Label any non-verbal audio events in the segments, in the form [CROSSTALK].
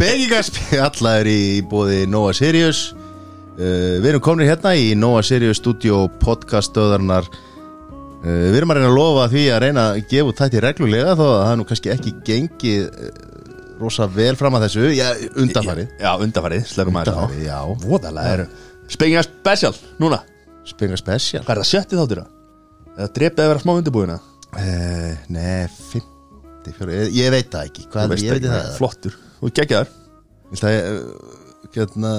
Beggingarspjallaður í bóði Nova Sirius uh, Við erum komin hérna í Nova Sirius Studio podcaststöðarnar uh, Við erum að reyna að lofa því að reyna að gefa út þætti reglulega þó að það er nú kannski ekki gengið uh, rosa vel fram að þessu Já, undanfarið Já, undanfarið, slökum að það Undanfarið, já. Voðalega er Spengar special, núna Spengar special Hvað er það, sjötti þáttur það? Eða drepið að vera smá undirbúina uh, Nei, 54 ég, ég veit það ekki, hvað er ég veit það Flottur, þú geggja þar Vilt það uh, hérna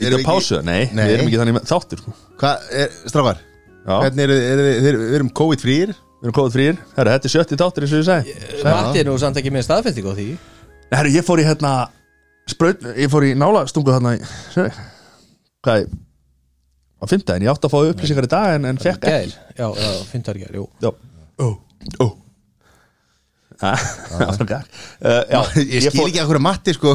Ég er að pásu það, nei, Nei. við erum ekki þannig með þáttur sko. Hvað, er, strafar Já. eh, Hvernig eru, eru, eru, eru, við erum COVID frýr Við erum kóðið frýr, herra, þetta er sjötti þáttur eins og ég segi Matti er nú samt ekki með staðfestingu á því Nei, herru, ég fór í hérna spraut, ég fór í nála stungu þarna í, sé, hvað er á fimmtæðin, ég átti að fá upplýsingar í dag en, en fekk ekki Gæl, já, já, fyndar gæl, jú Já Ó, ó [LAUGHS] Uh, Ég [LAUGHS] ég skil ekki að hverju Matti sko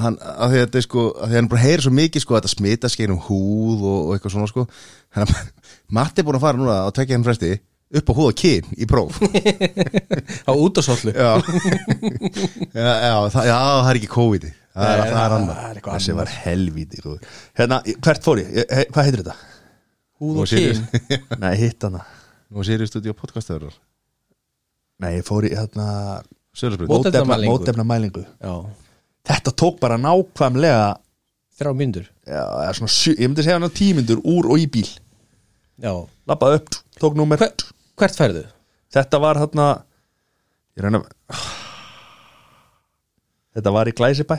hann, að því að þetta er sko að því að hann bara heyri svo mikið sko að þetta smitast gegnum húð og, og eitthvað svona sko hann, Matti er búin að [LAUGHS] fara núna á tvekja hann fresti upp á húð og kyn í [LAUGHS] próf já, Á útasóllu já, já, það, já, það er ekki COVID -ið. það er, það er annar Það er eitthvað Þessi var helvíti góður. Hérna, ég- hvert fór ég? ég he, hvað heitir þetta? Húð og kyn Nei, hitt hana nú sér við stúdíu podcastöður Nei, ég fór í hérna Söðursbryd What? Mótefnamælingu. mótefna mælingu Já, Þetta tók bara nákvæmlega þrjá myndur já, eða svona, sjö, ég myndi segja hann tímyndur úr og í bíl Já, Lappaði upp, tók númer Hver, hvert færðu? Þetta var hérna Ég reyna Þetta var í Glæsibæ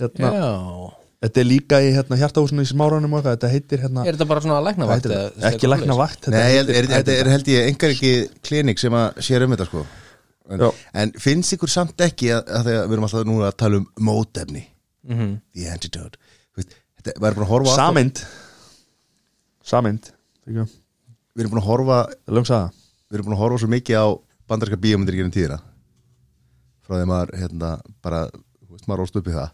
hérna, Já Þetta er líka í hérna, hjartahúsinu í smáranum og eitthvað Þetta heitir hérna Er þetta bara svona lækna hvað vakt? heitir þetta? Ekki lækna vakt Nei, er, er, þetta er held ég engar ekki klinik sem að sér um þetta sko en, Já. en finnst ykkur samt ekki að, að þegar við erum alltaf núna að tala um mótefni -hmm. the antidote Þú veist, þetta, við, erum búin að horfa alltaf- Samind Samind Það við erum búin að horfa er langt saða við erum búin að horfa svo mikið á bandarska bíómyndir gerum tíðina frá því maður hérna bara þú veist, maður ólst upp í það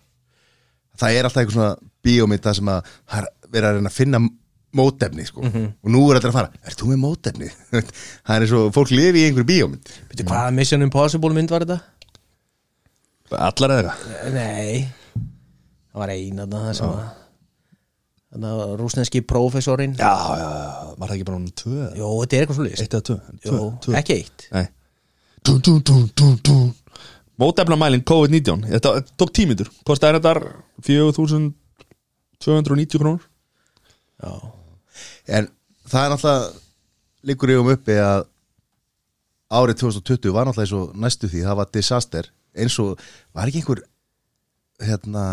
það er alltaf einhver svona bíómynd það sem að það er verið að reyna að finna mótefni sko. og nú er þetta að fara, ert þú með mótefni [LAUGHS] það er eins og fólk lifi í einhver bíómynd Býttu, hvaða Mission Impossible mynd var þetta? Allar eða eitthvað Nei Það var eina þarna það sem að Þannig að rúsneski prófessorinn Já, já, já, var það ekki bara núna tvö eða? Jó, þetta er eitthvað svo Eitt eða tvö Tvö, Jó, tvö ekki eitt Nei dún, dún, dún, dún, dún. Mótefnamæling COVID-19 Þetta tók tímitur Kostaði þetta 4.290 krónur Já, En það er náttúrulega líkur ég um uppi að árið 2020 var náttúrulega eins og næstu því, það var disaster eins og var ekki einhver hérna,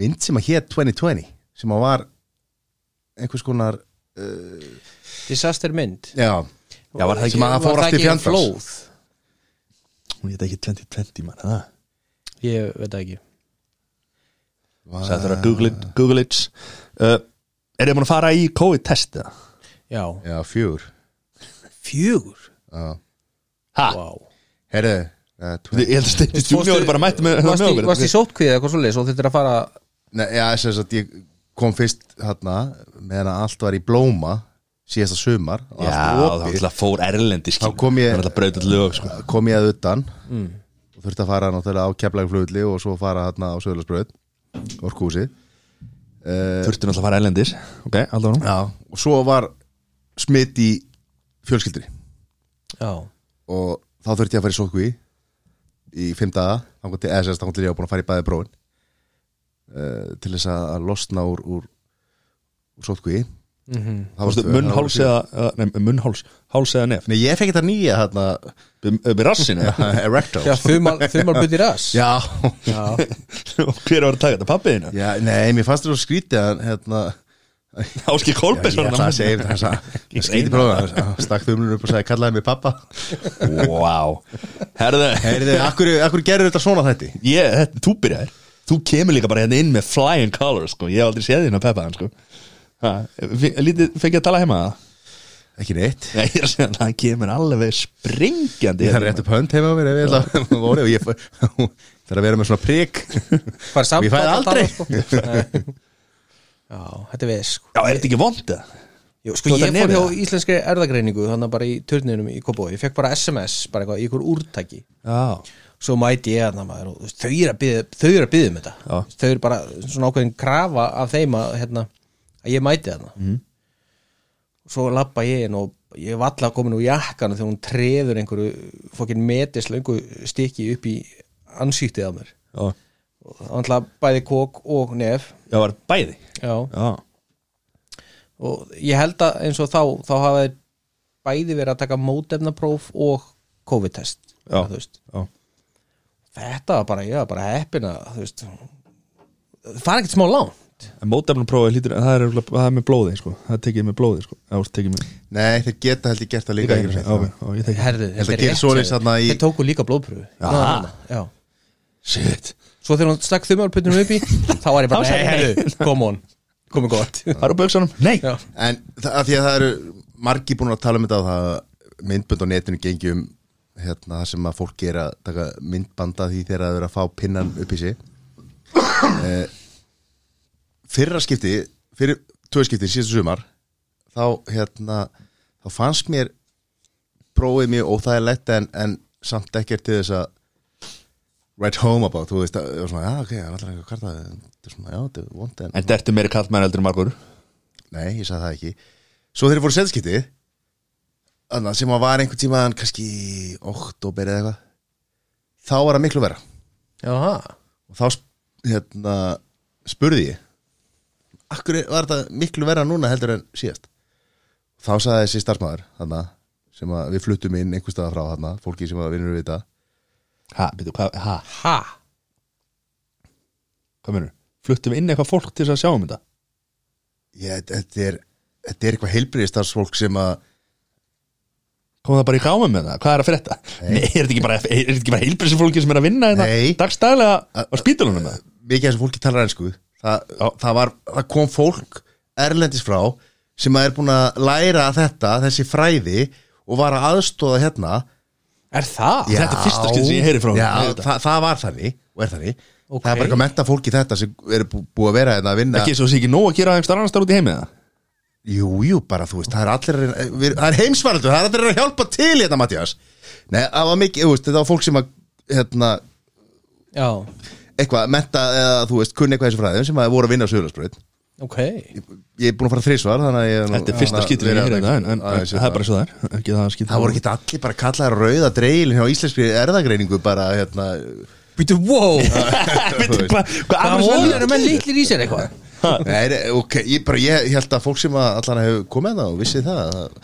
mynd sem að hétt 2020 sem að var einhvers konar disaster mynd já, Já, var það ekki- sem að það fór allt í ekki fjandans flóð? Hún geta ekki 2020 mann Það Ég veit það ekki Sættur að Google it, Google it uh, Er ég múin að fara í COVID-test eða? Já, Já, fjögur fjögur já. Ha? Vá Herðu, uh, 20 Ég held að Steindi Junior bara mætti með varst, í, varst í með- sótkvíða eitthvað svoleiðis og þetta er að fara Nei, já, sem sagt, ég kom fyrst hérna, meðan að allt var í blóma síðasta sumar og Já, allt það opið. náttúrulega fór erlendi Þá kom ég- Það braut all lög sko. kom ég að utan og þurfti að fara náttúrulega á keflagflugulli og svo fara hérna á Söðlarsbröð orkúsi Þurfti náttúrulega að fara erlendis Ok, alltaf nú Já. og svo var smitt í fjölskyldri Já, og þá þurfti ég að fara í sótkví í fimm daga þangað til, eða sérst, þangað til ég var búin að fara í bæði bróin uh, til þess að að losna úr, úr, úr sótkví mm Varstu Munnháls eða, eða- nei, munnháls, háls eða nef Nei, ég fekk þetta nýja hérna Með rassin eh, [LAUGHS] eða Erectal já [LAUGHS] þumal byrði rass Já. Já. Hver var að taka þetta? Pappiðina? Já, nei, mér fannst þetta svo skrítið að hérna, Áski Já, Kolbens ég ætla að segja þess [LAUGHS] að skýti prófa stakk þumlunum upp og sagði kallaði mig pappa Wow Herðu Heyrðu, akkur, akkur gerur þetta svona þetta? Ég, þetta, þú byrjar Þú kemur líka bara hérna inn með flying colors sko. Ég hef aldrei séð þín að peppa hann sko. ha, fe- Lítið, fengið að tala heima það? Ekki neitt Nei, ég er að segja að hann kemur alveg springjandi hérna. Ég þarf rétt upp hönd heima á mér ef ég ætla að voru og ég fæ- [LAUGHS] þarf að vera með svona [LAUGHS] prik Hvar Og ég fæði samband að aldrei. [LAUGHS] tala, sko. Nei. Já, þetta er veð sko. Já, er þetta ekki vond það? Jú, sko Þú ert ég að fór nefið hjá það? íslenskri erðagreiningu þannig bara í turninum í Kobói ég fekk bara SMS, bara eitthvað, í ykkur úrtaki já, svo mæti ég að maður og þú veist, þau eru að byggja, þau eru að byggja um þetta Já. þau eru bara svona ákveðin krafa af þeim að, hérna, að ég mæti þarna mm. Mhm. svo lappa ég inn og ég var alltaf komin úr jakkanu þegar hún treður einhverju fokkin metislöngu stykki upp í ansýttið á mér já, já, og það var alltaf bæði kók og nef var bæði já. já, og ég held að eins og þá þá hafa þeir bæði verið að taka mótefnapróf og COVID-test Já. þú veist já, þetta var bara, ég var bara heppin að þú veist það er ekkert smá langt en mótefnum prófið hlýtur en það er, örugglega- það er með blóði, sko, það er tekið með blóði, sko já, þú veist, tekið með Nei, þeir geta held ég gert það líka Já, ekki ok, já, ég þekki Ég Herðu, held að þetta er gera rétt svoleiðis hjá þér. þarna í- þeir tóku líka blóðpröfu Aha. Já, já. shit, svo þegar hún stakk þumalputtunum upp í þá var ég bara, Þá sagði nei, ég, herðu, come on komið gott [LAUGHS] það er á böksanum, nei Já. En það, að því að það eru margi búin að tala um þetta og það myndbönd á netinu gengi um hérna, það sem að fólk er að taka myndbanda því þegar það er að fá pinnan upp í sig eh, Fyrra skipti fyrir tvö skipti síðustu sumar þá hérna þá fannst mér prófið mjög óþægilegt en, en samt ekkert til þess að write home about, þú veist að, það var svona, já ok, það er alltaf eitthvað karta þetta er svona, já, þetta er vond en en þetta ertu meiri kallmenn heldur en margur Nei, ég sagði það ekki Svo þeir fóru setskipti Þannig sem að var einhvern tíma kannski oktober eða eitthvað Þá var það miklu vera Jaha. Og þá sp- hérna, spurði ég Akkur var þetta miklu vera núna heldur en síðast Þá sagði þessi starfsmæður Þannig sem að við fluttum inn einhvers staðar frá þarna Fólki sem að vinnur við þetta ha, byrju, hvað, ha, ha, hvað mennur fluttum við inn eitthvað fólk til þess að sjá um þetta Ég, þetta, er, þetta er eitthvað heilbriðistarsfólk sem að kom það bara í gámi með það, hvað er að frétta nei, er þetta ekki bara, er þetta ekki bara heilbrísifólki sem er að vinna Nei. þetta dagstæðlega á spítalunum með mikið af þessu fólki talar ennsku það, það, var, það kom fólk erlendis frá sem er búin að læra þetta, þessi fræði og var að aðstóða hérna er það? Já. þetta er fyrsta skil sem ég heyri frá Já, honum, auðvitað. það, það var þannig og er þannig Ok. það er bara eitthvað menta fólki þetta sem er bú- búið að vera hérna að vinna ekki svo sé ekki nóg að gera einhver annars þar út í heimi það Jú, jú, bara þú veist, það er allir að reyna- við, það er heimsvaraldur, það er allir að hjálpa til hérna Mattias, nei, það var mikið þú veist, þetta var fólk sem að hérna, Já. eitthvað, menta eða þú veist, kunni eitthvað í þessu fræðum sem að voru að vinna á Suðurlandsbröð ok ég er búin að fara þrísvar þannig að ég er nú- þetta er fyrsta þannig að skil sem ég vera- heyri þetta hérna, en, en, en aðeins- það er bara svo það er ekki það skil það voru ekki allir bara kallaðar rauða dreilin hjá íslenskri erðagreiningu bara hérna býtu, [LAUGHS] þú wow, veist. hvað, hvað það annars voru verður eru menn litlir í sér eitthvað Nei, nei, ok, ég, bara, ég held að fólk sem að allan hefur komið það og vissi það það,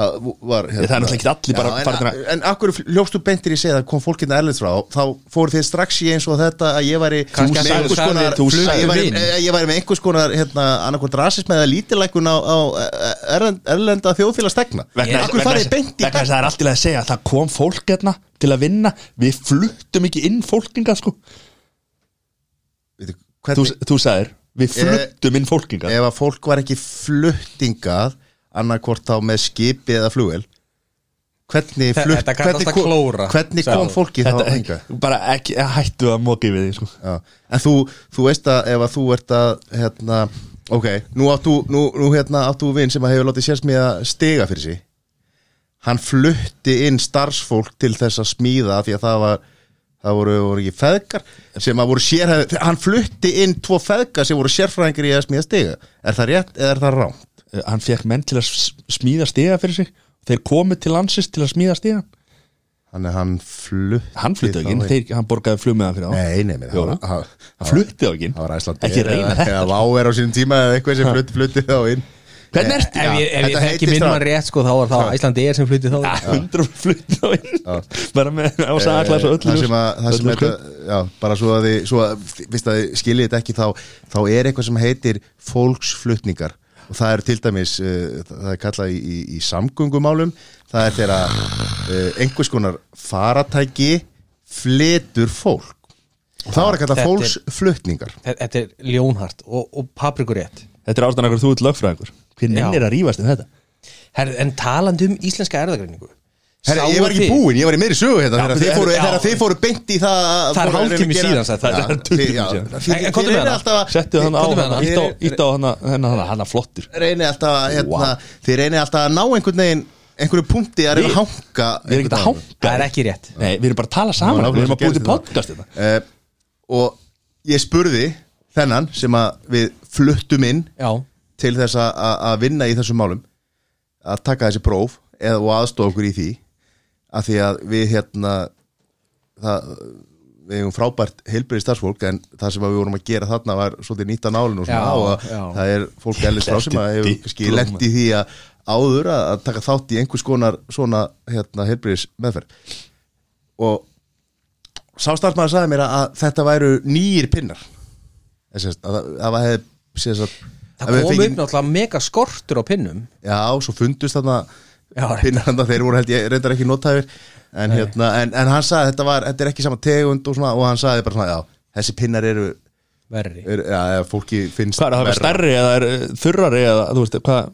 það var hérna, Það er náttúrulega ekkert allir bara já, en, farnir að- en akkur hljófstu beintir í segið að kom fólk hérna erlends frá þá fóru þið strax í eins og þetta að ég væri Kannski með sagði- einhvers sagði- konar þú að ég sagði væri, vin. að ég væri með einhvers konar hérna, annarkvæmt rasism eða lítilækun á, á erlend, erlenda þjóðfélagstegna vegna þess- akkur vegna farið þess- beint í vegna þess að það er allt í lagi að segja að það kom fólk hérna til að vinna við fluttum ekki inn fólkinga sko Veitu, þú, hvernig, þú sagðir, Eh, við fluttum inn fólkinga ef að fólk var ekki fluttingað annarkvort þá með skipi eða flugel hvernig, Þe- flutt, þetta kallast hvernig, að klóra, hvernig sagði kom þú. fólki þá þetta, eh, hingað? bara ekki, hættu að móki við því sko. Já. en þú, þú veist að ef að þú ert að hérna, ok, nú áttu nú, nú hérna áttu vinn sem að hefur látið sérst með að stiga fyrir sig hann flutti inn starfsfólk til þess að smíða af því að það var það voru, voru ekki feðgar sem að voru sérhæð, hann flutti inn tvo feðgar sem voru sérfræðingar í að smíða stiga er það rétt eða er það rám? Eh, hann fekk menn til að s- smíða stiga fyrir sig þeir komu til landsins til að smíða stiga Þannig að hann flutti hann flutti ekki, inn, þeir þeir, hann borgaði flugmiðan fyrir á Nei, nei, nei, Jó, það var- hann flutti ekki inn. það var [LAUGHS] æsland ekki reyna þetta Eða láver á sínum tíma eða eitthvað sem flutti, flutti þá inn Eh, hvernig ertu? ef ég, ef ég Þetta þekki heitir minn strá- mann rétt sko þá var það Íslandi er sem flutti þá Ja, hundra flutti þá inn bara með ása Eh, aðklað svo öllu sko. Það sem að, það sem öllu þetta, já, bara svo að þið, svo að, vist að þið skiljið þetta ekki þá, þá er eitthvað sem heitir fólksflutningar og það er til dæmis, uh, það er kallað í, í, í samgöngumálum, það er þegar að uh, einhvers konar faratæki flytur fólk. Og það var að kalla Þetta er- fólksflutningar. þetta er ljónhart og, og paprikurétt þetta er ástæðan akkur þú ert lögfræðingur hver Já. nefnir að rífast um þetta Herðu, en talandi um íslenska erðagreiningu Herra, Sáuð ég var ekki þið? búinn, ég var í meiri sögu hérna þegar Já, þið fóru, já. þegar þið fóru beint í það að- Það er fóru að reyna hálftími að gera- síðan, sagði það, Já, það er 20 þið- já, síðan. þið- En- en þið komdu með reynið hana. alltaf að- Settu hann á Komdu með hana, hana. ítt á, ítt á hana, hérna, hana, hana, hana flottur reynið alltaf að hérna, Vá. þið reynið alltaf að ná einhvern veginn einhverju punkti að reyna að Við- hanga Við erum ekki að einhvern hanga það er ekki rétt Nei, við erum bara að tala Já, saman, nákvæmlega við erum að búið gerist til þetta. podcast hérna. þetta veginn. Eh, og ég spurði þennan sem að við fluttum inn já, til þess að- að að vinna í þessum málum að taka þessi próf eða og aðstofa okkur í því að því að við hérna það, við hefum frábært heilbyrði starfsfólk en það sem að við vorum að gera þarna var svolítið nýttan álun og svona Já, og já. það er fólk ellis frá sem að hefur Eftir kannski diplóma. lent í því að áður að að taka þátt í einhvers konar svona hérna heilbyrðis meðferð og sá starfsmaður sagði mér að, að þetta væru nýjir pinnar þess að það- að það hefði sem sagt, að það við kom upp fengið- náttúrulega mega skortur á pinnum já, svo fundust þarna Já, reyndar. pinnar þarna, þeir voru held ég reyndar ekki notaðir en, hérna, en, en hann sagði þetta, var, þetta er ekki sama tegund og, svona, og hann sagði bara svona, já, þessi pinnar eru, verri eru já, já, fólki finnst Hvað er það, það er verra. stærri eða er eh, þurrari eða, þú veist, hvað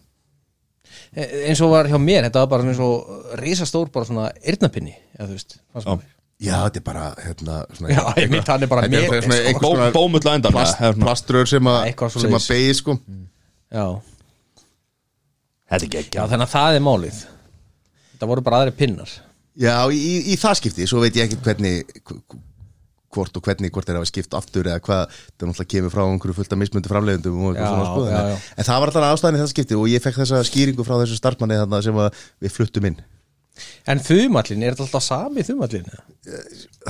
E- eins og var hjá mér, þetta var bara eins og risastór bara svona yrnapinni eða þú veist, fannst mér já, þetta er bara hérna, svona, Já, ég mitt, hann er bara Þetta er mér, svona sko. einhvers Bó- konar bómull á endanum, plast, eða svona. plaströr sem, a, Já, eitthvað sem að svoleiðis. beigja sko já, Þetta er já, geggjað þannig að það er málið þetta voru bara aðri pinnar Já, í, í, í það skipti, svo veit ég ekki hvernig hv- hv- hvort og hvernig hvort er að skipt aftur eða hvað, það náttúrulega kemur frá einhverju fullt af mismundu framleiðendum og eitthvað Já, svona skoðan já, já. en, en það var alltaf ástæðan í þetta skipti og ég fekk þessa skýringu frá þessu starfmanni þarna sem að við fluttum inn en þumallin, er þetta alltaf sami þumallin?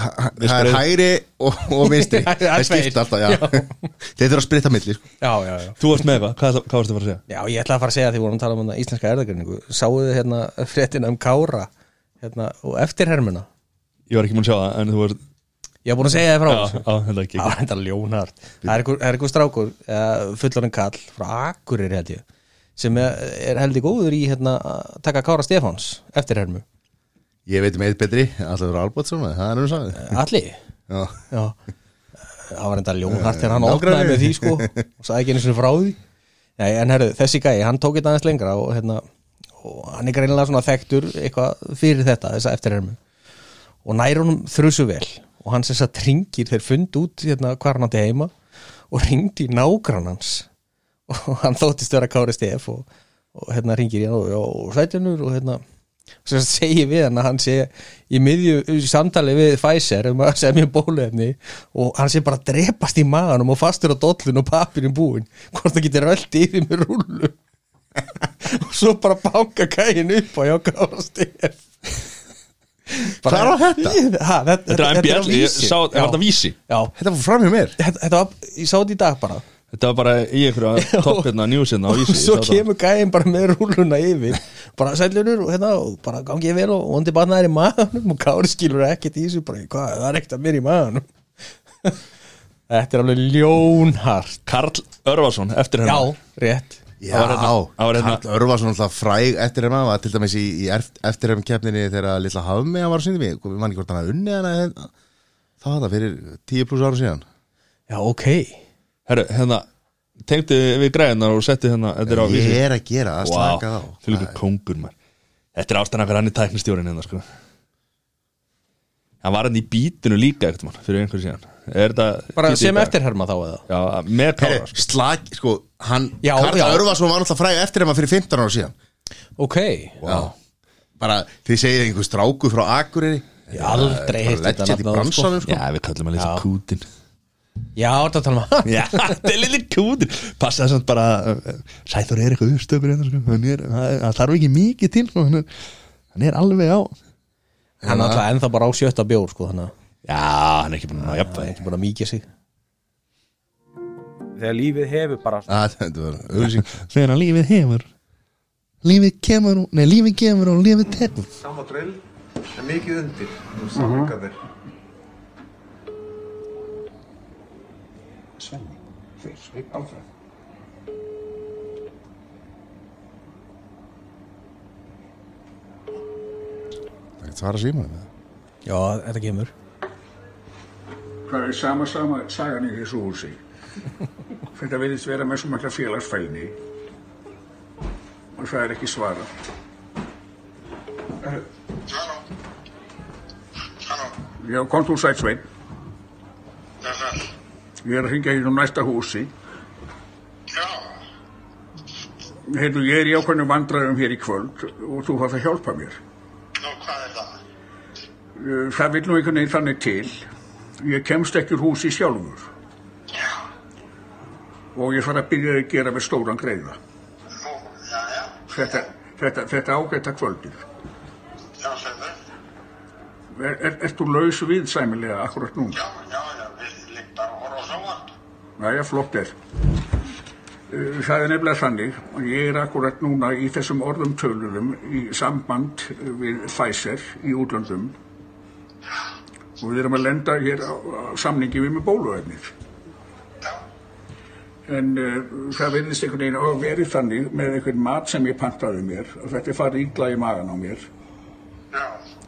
ha, ha, Það er hægri og, og vinstri Það [LAUGHS] er Það skipt tveir. alltaf, já, Þeir þurfa að spritta milli sko. já, já, já Þú varst með eitthvað, hvað, hvað varstu að fara að segja? Já, ég ætlaði að fara að segja því vorum að tala um hana íslenska erðagreiningu Sáuðu þið hérna fréttina um Kára hérna, og eftirhermuna Ég var ekki múin að sjá það, en þú varst Ég var búin að segja þið frá Já, þessu. já, þetta er geggjað Það var þetta ljónhart Það er einhver- það er einhver strákur, uh, fullanum kall frá Akurir held ég sem er, er heldig góður í hérna, að taka Kára Stefáns eftirhermu Ég veit um eitt betri, Allafur Albertsson það er hann sagði Alli Já, Já Það var enda ljónhart þegar hann Nágranni. opnaði með því sko og sagði ekki einu sinni frá því Nei, en herru, þessi gæi, hann tók þetta aðeins lengra og, hérna, og hann er greinilega svona þekktur eitthvað fyrir þetta, þessa eftirhermu og nær honum þrusu vel og hann sem sagt ringir, þeir fundu út hérna hvar hann átti heima og ringdi í nágrann hans og hann þóttist vera Kári Stef og, og hérna ringir í hann og, og sætlinur og hérna sem sagt segir við hann að hann sé í miðju í samtali við Pfizer um að semja bólefni og hann sé bara að drepast í maganum og fastur á dollun og papirin búin hvort það getur öll yfir með rullu [LAUGHS] og svo bara banka gæin upp og hjá Kári Stef Hvað er á þetta? Ha, þetta, Þetta er á MBL, ég Vísi. sá, er Já. þetta vísi? Já, þetta var fram hjá mér þetta, þetta var, ég sá þetta í dag bara Þetta var bara í einhverja toppirna njúsinna hérna á og vísi svo ég sá það. kemur gæðin bara með rúluna yfir bara sælunur og hérna og bara gangið vel og vondi batnaðir í maðanum og Kári skilur ekkert í þessu bara hvað, það er ekkert að mér í maðanum [LAUGHS] Þetta er alveg ljónhart Karl Örvarsson, eftir hérna. Já, hennar rétt Já, Það var hérna- það var hérna- Karl Örvarsson alltaf fræg eftir hann var til dæmis í, í eftir hann keppninni þegar Lilla Hafmi hann var að sýndi mig, við mann ekki hvort hann að unni hann að það var það fyrir 10 pluss ára síðan Já, ok Herru, hérna, tengdi við græðinar og setti hérna, þetta er á vísi Ég er að gera, að slaka á Fyrir líka kongur maður Þetta er ástæðan fyrir hann í tæknistjórin hérna, sko Hann var hann í bítinu líka eftir mann, fyrir einhverju síðan Er þetta Bara bítið í sem dag? eftirherma þá eða Já, með Heri, kára, sko Slag, sko, hann Já, Karl já. Örvarsson var alltaf fræg eftir hann fyrir 15 ára síðan Ok, Já Bara, þið segir einhver stráku frá Akureyri Ég aldrei heyrt þetta þetta nafn áður, sko. bransanum, sko Já, við kallum hann Já. lítið kútin já, þetta tala um hann [LAUGHS] Já, þetta er lítið kútin Passa það samt bara uh, Sæþór er eitthvað uppstökur hérna, sko Hann er, hann- hann þarf ekki mikið til, sko Hann er, hann er alveg á Hann er alltaf ennþá bara á sjötta bjór sko þannig að Já, hann er ekki búin að það er jafnvægi ekki búin að mýkja sig þegar lífið hefur bara Ah, Þetta var auðlýsing Þegar hann lífið hefur Lífið kemur, og- nei, lífið kemur og lífið tekur sama drill en mikið undir nú samlinga þeir Svenni, Friðrik, Alfred Það er ekki svara símanum eða? Já, þetta kemur Það er sama, sama sagan í þessu húsi Þetta virðist vera með svo mækla félagsfælni og það er ekki svarað Halló Já, kom þú sætt sveinn. Ég er að hringja hérna um næsta húsi. Já, Heyrðu, ég er í ákveðnum vandræðum hér í kvöld og þú þarf að hjálpa mér. nú hvað er það? Eh, Það vil nú einhvern veginn þannig til. Ég kemst ekki úr húsi sjálfur Já, og ég þarf að byrja að gera með stóran greiða. nú, já, já, Þetta, þetta, þetta ágæta kvöldið. já, Sveifur. Er, er, ert þú laus við sæmilega akkurat núna? Já, já, já, við líkt bara að horfa á sjóan. Næja, flott er. Eh, Það er nefnilega þannig að ég er akkurat núna í þessum orðum tölurum í samband við Pfizer í útlöndum og við erum að lenda hér á, á samningi við með bóluefnið. En uh, það verðist einhvern veginn að verið þannig með einhvern mat sem ég pantaði mér að þetta er farið ítla í magan á mér Já,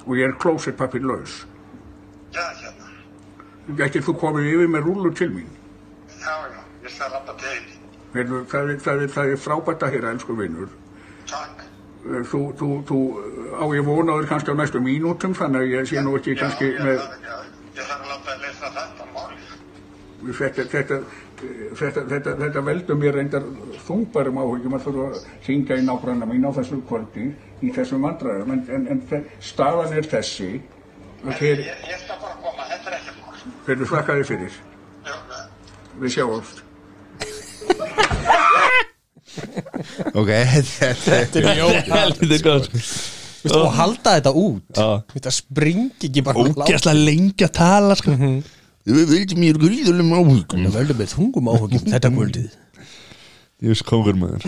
og ég er klósettpapir laus. já, hérna, Gætið þú komið yfir með rúlu til mín? já, já, ég skal rappa til. Heyrðu, það, er, það, er, það er frábært að heyra, elsku vinnur. Takk. Þú, þú, þú á ég vonaður kannski á næstu mínútum, þannig að ég sé nú ekki kannski já, með ég, þarf- já, ég þarf að láta að leysa þetta mál. þetta, þetta, þetta, þetta, þetta veldur mér reyndar þungbærum áhugjum að þurfa að syngja í nágranna mín á þessu kvöldi í þessum vandræðum, en, en, en þe- staðan er þessi að Ég, þeir ég skal bara koma, þetta er ekki mál. eru þakkaði fyrir. Já, já. Við sjáumst. [LAUGHS] Ok, þetta er Helviti gott Vist, og halda þetta út Já. þetta springi ekki bara Ógæslega lengi að tala sko Við veitum mér gríðulegum áhugum völdum með þungum [LAUGHS] áhugjum þetta kvöldið Ég veist kongur maður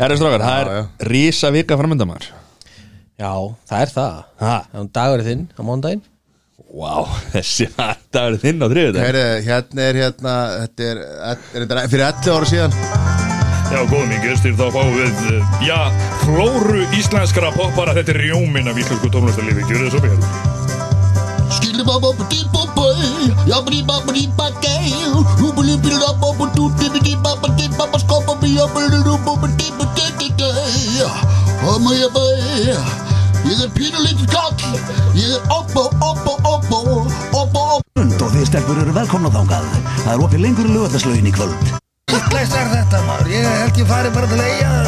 Herra strákar, það Já, er rísa vika framönda maður já, það er Ha, það það er dagurinn þinn á mándaginn Vá, þessi var Það verið þinn á þriðu dag Heyrðu, hérna er hérna Þetta er, er þetta fyrir 11 ára síðan Já, góðum í gestir, þá fáum við, eh, já, flóru íslenskara poppara, þetta er rjóminn af íslensku tónlistarlífi, gjör þið svo vel. Ég er pínuleitur kall Ég er oppo, oppo, oppo, oppo, oppo Lund og þið stelpur eru velkomna þangað. Það er opið lengur lögataslaugin í kvöld. Vittlegs er þetta maður, ég held ég fari bara til eiga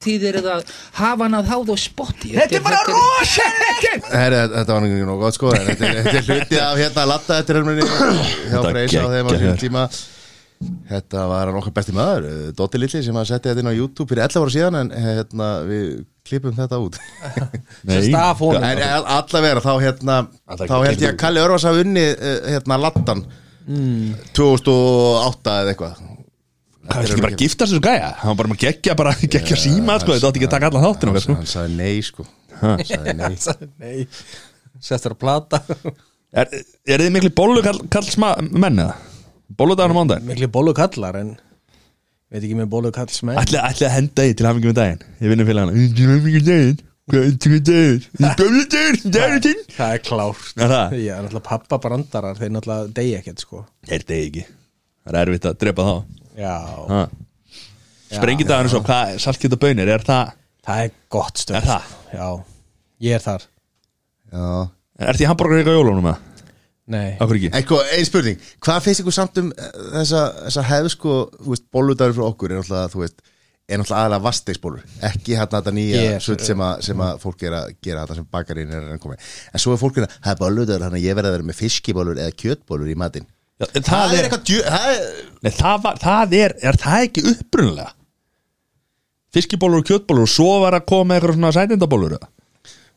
þýðir það hafa hann að háð og spotti Þetta er bara rosalegt Heyrðu, þetta- þetta var ekki nóg gott sko en Þetta er, þetta er hluti af hérna Latta þetta er hérna hjá Þetta Freysa á þeim á geggjað. sínum tíma Þetta var hann okkar besti maður eh, Dotti Lilli sem að setja þetta inn á YouTube fyrir 11 ára síðan en eh, hérna við klippum þetta út sem staf honum En all- allavega þá hérna Alla- þá held ég að Kalli Örvas hafi unni hérna Lattan Mm. 2008 eða eitthvað Hvað er ekki bara að giftast þessu gæja? Hann var bara með geggja, bara geggja Já, síma sko, hann- Þetta átti ekki að taka allan þáttin okkar hann, sko. hann sagði nei sko Hann sagði nei [LAUGHS] nei, settur að [LAUGHS] plata Er, er þið miklu bólu kall, kallsma menn eða? Bóludagur á mándaginn? miklu bólu kallar en veit ekki með bólu kalls menn Ætli, ætli að henda því til hafingjum í daginn Ég vinnum fyrir hana Til hafingjum í daginn Hvað er til hafingjum í daginn? Bóludagur, dagur þinn það er klárt Er það? já, náttúrulega pappa brandarar þeir náttúrulega degi ekkert sko Er það ekki Það er erfitt að drepa þá já, Sprengidagur svo Hvað er saltkjöt og bönir? Er það það er gott stöð Er það? já, ég er þar Já Er því hambúrgar eitthvað á jólunum eða? nei, Af hverju ekki? Eitthvað, ein spurning, hvað finnst ykkur samt um eh, þessa, þessa hefð sko, þú veist, bolludagur frá okkur er náttúrulega, þú veist, er náttúrulega aðalega vastegsbólur, ekki hérna þetta nýja Ég- yeah. sutt sem, að- sem að fólk er að gera þetta sem bakarinn er að koma í. en svo er fólk hérna, það er bolludagur, þannig að ég verði að vera með fiskibólur eða kjötbólur í matinn. Já, en Það er eitthvað, djö, það er, Nei, það, var, það er, er það ekki upprunalega? Fiskibólur og kjötbólur og svo var að koma eitthvað svona sætindabólur eða?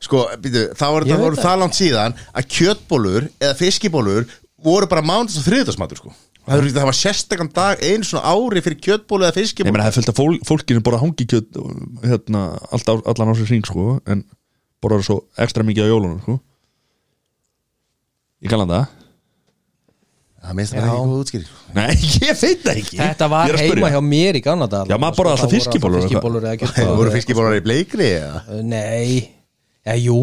sko, býtu, þá er Ég þetta veit voru það. það langt síðan að kjötbólur eða fiskibólur voru bara mándags og þriðdagsmatur, sko. Það, er, það var sérstakann dag, einu svona ári fyrir kjötbólu eða Ég fiskibólu. meina það er fullt af fól, fólkinu bara hangi kjöt hérna, allt, á- allan á sér síng sko en bara svo ekstra mikið á jólunum sko Ég kallan það Það minnst það bara ekki góð útskýring. Nei, [LAUGHS] ég veit það ekki þetta Ég var er að heima spyrja. hjá mér í gamla dag Já, maður borðaði alltaf fiskibólur og eitthvað. fiskibólur [LAUGHS] eða Það kjötbólur voru fiskibólar í bleikri eða? Nei, já, jú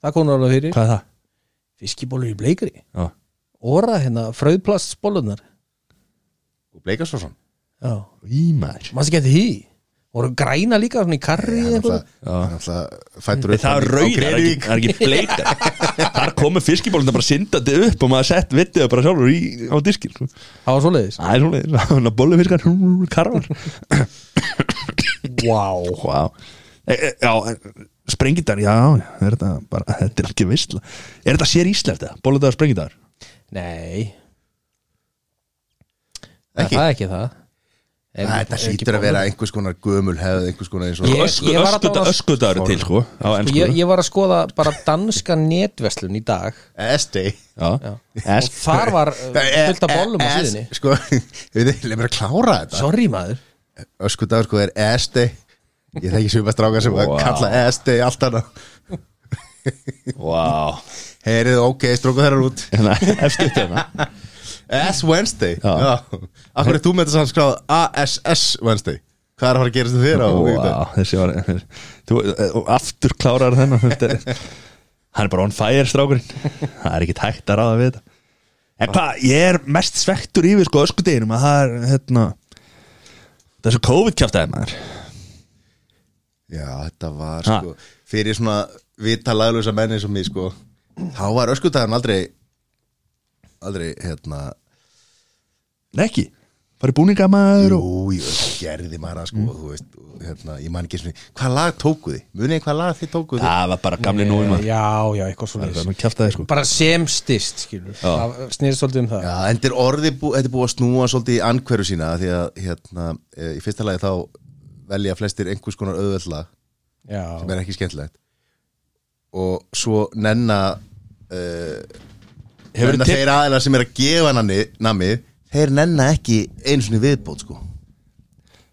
Það kom náttúrulega fyrir Hvað er það? Fiskibólur í bleikri Já. Óra hérna, fröðplastbólunar Sko, og Bleikarsvarsson Já, Í maður maður sem geti því voru græna líka svona í karri eða eitthvað alltaf fættur Nei, það er rauð, það er ekki, það er [LAUGHS] ekki bleita Þar komu fiskibólundar bara syndandi upp og maður sett vitið bara sjálfur í, á diskinn sko. það var svoleiðis Það er svona, svona [LAUGHS] bollufiskar karfar wow. Vá e, e, Já, en sprengidagur, já, já er þetta, bara, þetta er ekki vissla Er þetta sér íslenskt það, bolludagur sprengidagur? nei, Ekki? það er ekki það Er- Þetta er ekki hlýtur að bóludagur? vera einhvers konar gömul hefð einhvers konar eins og Ég- Ösku, ég var að öskudagur dáast- öskudagur er til, sko, á Sko, ennsku ég, ég var að skoða bara danska netverslun í dag Esti Já, og þar var uh, fullt af bollum á síðinni Sko, [LAUGHS] við veit, leið mér að klára þetta eh, sorry maður Öskudagur sko er Esti Ég þekki svipast stráka sem að Wow. kalla Esti allt annað Vá [LAUGHS] Heyrið, ok, stróku þeirra út Hérna, efstu upp hérna S Wednesday Já. Já. Akkur er þú með þess að skráð ASS Wednesday Hvað er að fara að gerast þér á wow. Vá, þessi var þú, eh, og aftur klárar þennan þetta er- [LAUGHS] hann er bara on fire strákurinn það er ekki tækt að ráða við þetta en hvað, ég er mest svektur yfir sko öskudeginum að það er hérna þessu COVID kjáftæði maður Já, þetta var Ha. sko Fyrir svona vita laglösa menni sem ég sko Þá var öskudagurinn aldrei Aldrei, hérna Nei ekki, bara í búninga maður og... Jú, jú, gerði maður að sko Þú veist, og hérna, ég man ekki svona Hvað lag tókuð þið? Munið hvað lag þið tókuð þið? það var bara gamli núin maður já, já, eitthvað það er svoleiðis bara kjáftæði sko bara sem stist, skilur það snýrst svolítið um það Já, en þetta er orðið bú, þetta er búið að snúa svolítið í ankveru sína af Því að, hérna, eh, í fyrsta lagi þá Velja flestir einhvers konar auðvöldlag já, sem er ekki skemmtilegt og svo nenna uh, Hefur nenna tip- þeir aðeina sem er að gefa nami, nami þeir nenna ekki einu sinni viðbót sko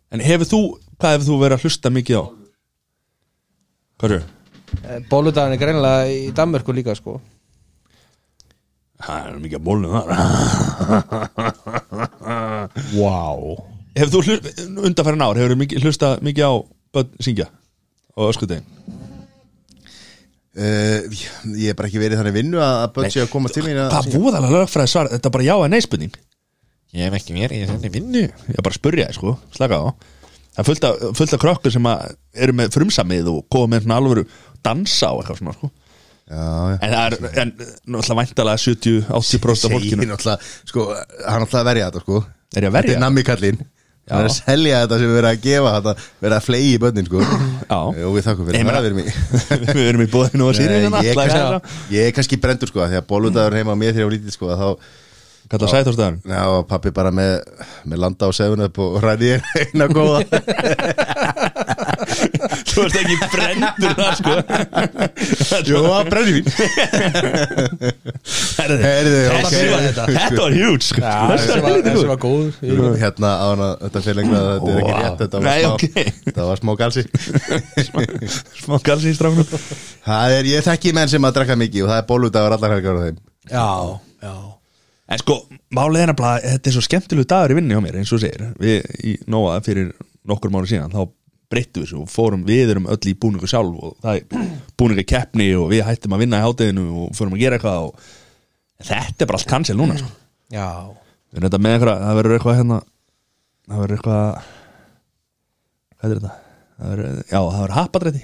en hefur þú, hvað hefur þú verið að hlusta mikið á? hvað er bóludagin Eh, er greinilega í Danmörku líka sko það er mikið að [LAUGHS] bólum þar wow. Hefur þú hlu, undanfærin ár, hefur þú hlusta mikið á börn syngja á öskudegin? uh, ég er bara ekki verið þannig vinnu að að börn sé að koma til mín að Hvað voðalega lögfræði svar, þetta er bara já eða nei spurning Ég hef ekki mér, ég er henni vinnu Ég er bara að spurja þér sko, slaka á Það er fullt af, fullt af krökkur sem að eru með frumsamið og koma með svona alvöru dansa og eitthvað svona sko já, já En það er, en náttúrulega væntalega 70-80% af segir fólkinu náttúrulega, sko, hann náttúrulega að verja þetta sko Er ég þetta að verja? er nami kallinn hann er að selja þetta sem við verið að gefa þetta verið að flegi í börnin sko já og við þakkum Ég fyrir meina- það [LAUGHS] við erum í [LAUGHS] Við erum í bóðinu og hérna. sýrið Nei, ég, kannski, ég er kannski brendur sko því að bóludagur heima á mér þegar ég var lítið sko þá Kallar sætórstæðan Já, og pappi bara með, með landa á 7up og ræði ég eina góða [LAUGHS] Þú ert ekki sko. brendur það sko Jó, brennivín Herðu, Heyrðu, þessi ok. var þetta Þetta var huge sko þessi var, þessi var góð [LAUGHS] Hérna á hana, þetta fyrir lengra að þetta er ekki Wow. rétt Þetta var Nei, smá, ok. þetta var smá galsi [LAUGHS] Smá galsi í stráknum Það er, ég þekki menn sem að drekka mikið og það er bóludagur allar helgar á þeim já, já. En sko, málið er nefnilega að þetta er svo skemmtilegu dagur í vinnu hjá mér, eins og þú segir Við í Nóa fyrir nokkur mánu síðan þá breyttum við svo og fórum við erum öll í búningu sjálf og það er búningu keppni og við hættum að vinna í hátæðinu og fórum að gera eitthvað og en þetta er bara allt cancel núna sko. já. Við erum þetta með eitthvað, það verður eitthvað hérna það verður eitthvað hvað er þetta? Það verður, já, það verður happadrætti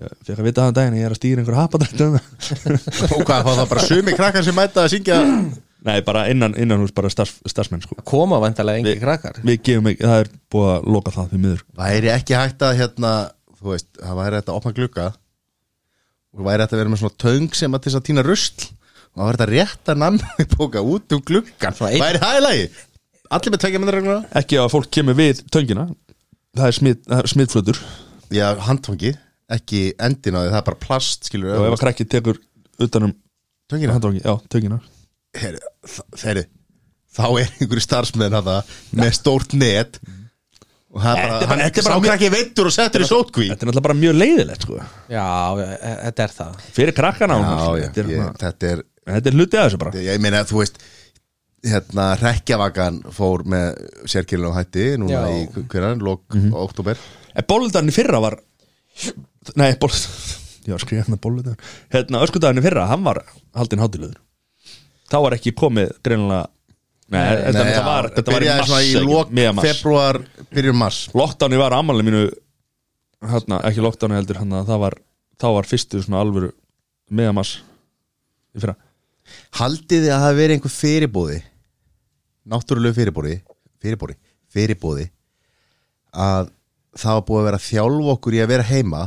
Ég fekk að vita það um daginn, ég er að stýra einhverju happadrætti um Og hvað, þá það bara sumi krakkar sem mæta að syngja [LAUGHS] Nei, bara innan, innan hús, bara starf, starfsmenn sko. koma vantarlega engi krakkar við gefum ekki, það er búið að loka það fyrir miður Væri ekki hægt að hérna, þú veist, það væri hægt að opna glugga og væri hægt að vera með svona töng sem að til þess að týna rusl og það væri hægt að rétta namni bóka út um gluggan Svona einn- Væri það í lagi? Allir með tvekja myndir regluna? ekki að fólk kemur við töngina það er, smit, það er smitflötur Já, handfangi, ekki endin á því, það er bara plast, skilur og ef að krakki tekur utanum Töngina? handvangi, já, töngina Heri, heri, þá er einhverju starfsmenn að það með stórt net og það er bara, Þetta er bara- hann- þetta er bara- sá krakki veittur og settur í sótkví þetta er náttúrulega bara mjög leiðilegt sko. já, e- þetta er það fyrir krakkana Já, og svona, já, þetta, ég, er, ég, þetta er þetta er hluti að þessu bara ég meina þú veist hérna Rekkjavagan fór með sérkilinu hætti núna Já. í hverjan, lok Mhm. oktober en bóludarni Eh, fyrra var nei, ból [LAUGHS] ég var að skrifa hérna bóludarni hérna, öskudarni fyrra, hann var haldinn hátilöður þá var ekki komið greinilega Nei, þetta- Nei, þetta já, var- þetta var í byrjaði mars, svona í ekki? lok Miðjan mars. februar, byrjun mars Lockdowni var ammálinu mínu hérna, ekki lockdowni heldur hérna, það var, þá var fyrstu svona alvöru meðamass í fyrra Haldið þið að það verið einhver fyrirbóði Náttúrulegu fyrirbóði Fyrirbóði Fyrirbóði Að það var búið að vera að þjálfa okkur í að vera heima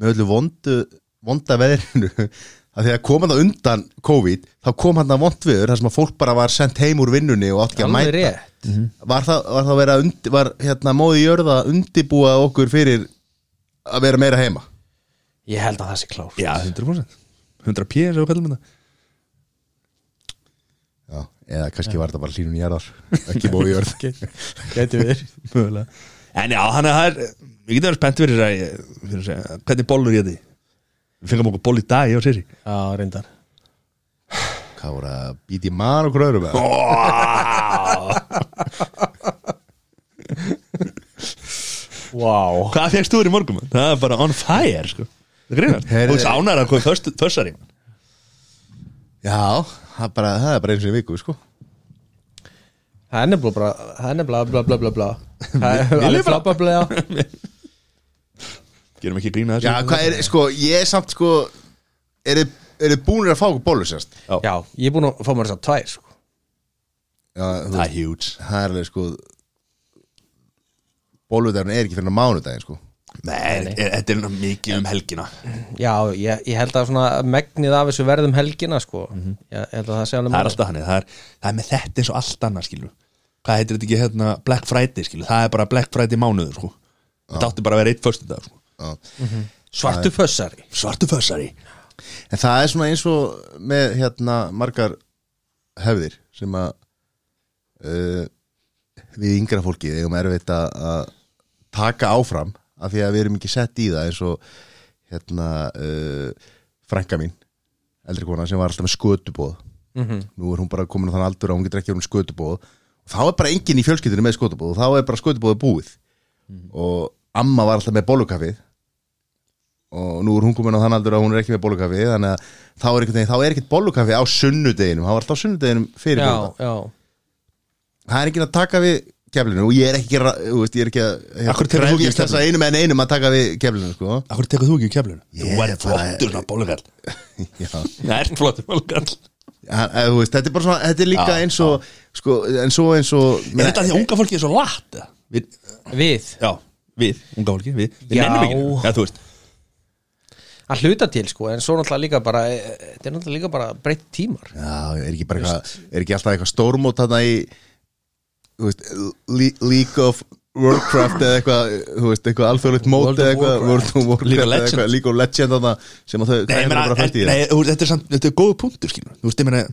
Með öllu vondu Vonda veðrinu [LAUGHS] Að því að kom hann undan COVID Þá kom hann að vond viður þar sem að fólk bara var sendt heim úr vinnunni Og átt ekki að Alveg mæta rétt. Mhm. Var það, var það að vera undi, Var hérna móði jörða að undibúa okkur fyrir Að vera meira heima Ég held að það sé klár Já, 100% 100 p sem við kallum þetta Já, eða kannski var þetta bara hlínun jarðar Ekki móði jörð Gæti við Mögulega. En já, hann er, það er- við getum verið spennt fyrir að, fyrir að segja, hvernig bollur ég því Við fengum okkur boll í dag, ég og Siri Já, reyndar Hvað voru að býti mann og gröður með Wow Hvað fegst þú þér í morgum? Það er bara on fire, sko Það greinar, Heyrðu- þú veist ánæra að koma fössari Já, það, er bara, það er bara eins og í viku sko. Það er nefnilega bara, það er nefnilega bla bla bla bla Það er Vil- alveg viljið bara- flabba bla Gerum ekki grína þessu Já, hvað er, sko, ég er samt sko Er þið búinir að fá okkur bólu sérst? Já, ég er búin að fá mér þess að tvær sko. Já, þú, Það er huge það er alveg sko Bóludagurinn er ekki fyrir mánudaginn sko Nei, er- er- þetta er nú mikið um helgina Já, ég, ég held að svona megnið af þessu verðum helgina sko. Ég held að það sé alveg Mhm. það er málið. alltaf hannig það er, það er með þetta eins og allt annað skilur hvað heitir þetta ekki hérna Black Friday skilur það er bara Black Friday mánuður sko. þetta átti bara að vera eitt förstu dag sko. Já. Svartu fössari svartu fössari En það er svona eins og með hérna margar hefðir sem að uh, við yngra fólkið eigum erfitt að, að taka áfram af því að við erum ekki sett í það eins og hérna uh, frænka mín eldri kona sem var alltaf með skötubóð nú er hún bara komin á þann aldur að hún getur ekki verið um skötubóð og þá er bara enginn í fjölskyldinu með skötubóð og þá er bara skötubóð búið og amma var alltaf með bólukafið og nú er hún komin á þann aldur að hún er ekki með bólukafi þannig að þá er ekkert, þá er ekkert bólukafi á sunnudeginum, hann var alltaf á sunnudeginum fyrir Já, bólukafið, já það er ekki að taka við keflinu og ég er ekki, að ra- þú veist, ég er ekki að hérna, Akkur tekur þú ekki krefjast þess að einum en einum um að taka við keflinu sko. [LAUGHS] Akkur tekur þú ekki í keflinu? Ég Þú væri bara- flottur hérna, svona bólugall Já. Það er flottur bólugall Hann- eða, þú veist, þetta er bara svona, þetta er líka Já, eins og sko, en svo eins og Er þetta því að unga fólki er svo latt? eða? Við, Við, já, við, unga fólki Við, við Já. nennum ekki Já, þú veist að hluta til sko En svo náttúrulega líka bara e, e, Þetta er náttúrulega líka bara breytt tímar Já, er ekki, bara eitthvað, er ekki alltaf eitthvað stórmót þarna í þú veist, Le- League of Warcraft eða eitthvað, þú veist, eitthvað alþjóðlegt mót World of eða eitthvað, World of Warcraft League of eða eitthvað, Legends. League of Legends þarna sem að þau Nei, ég grænir meina, bara fælt í en- það nei, þú veist, þetta er samt, þetta er góð punktur skilur Þú veist, ég meina þú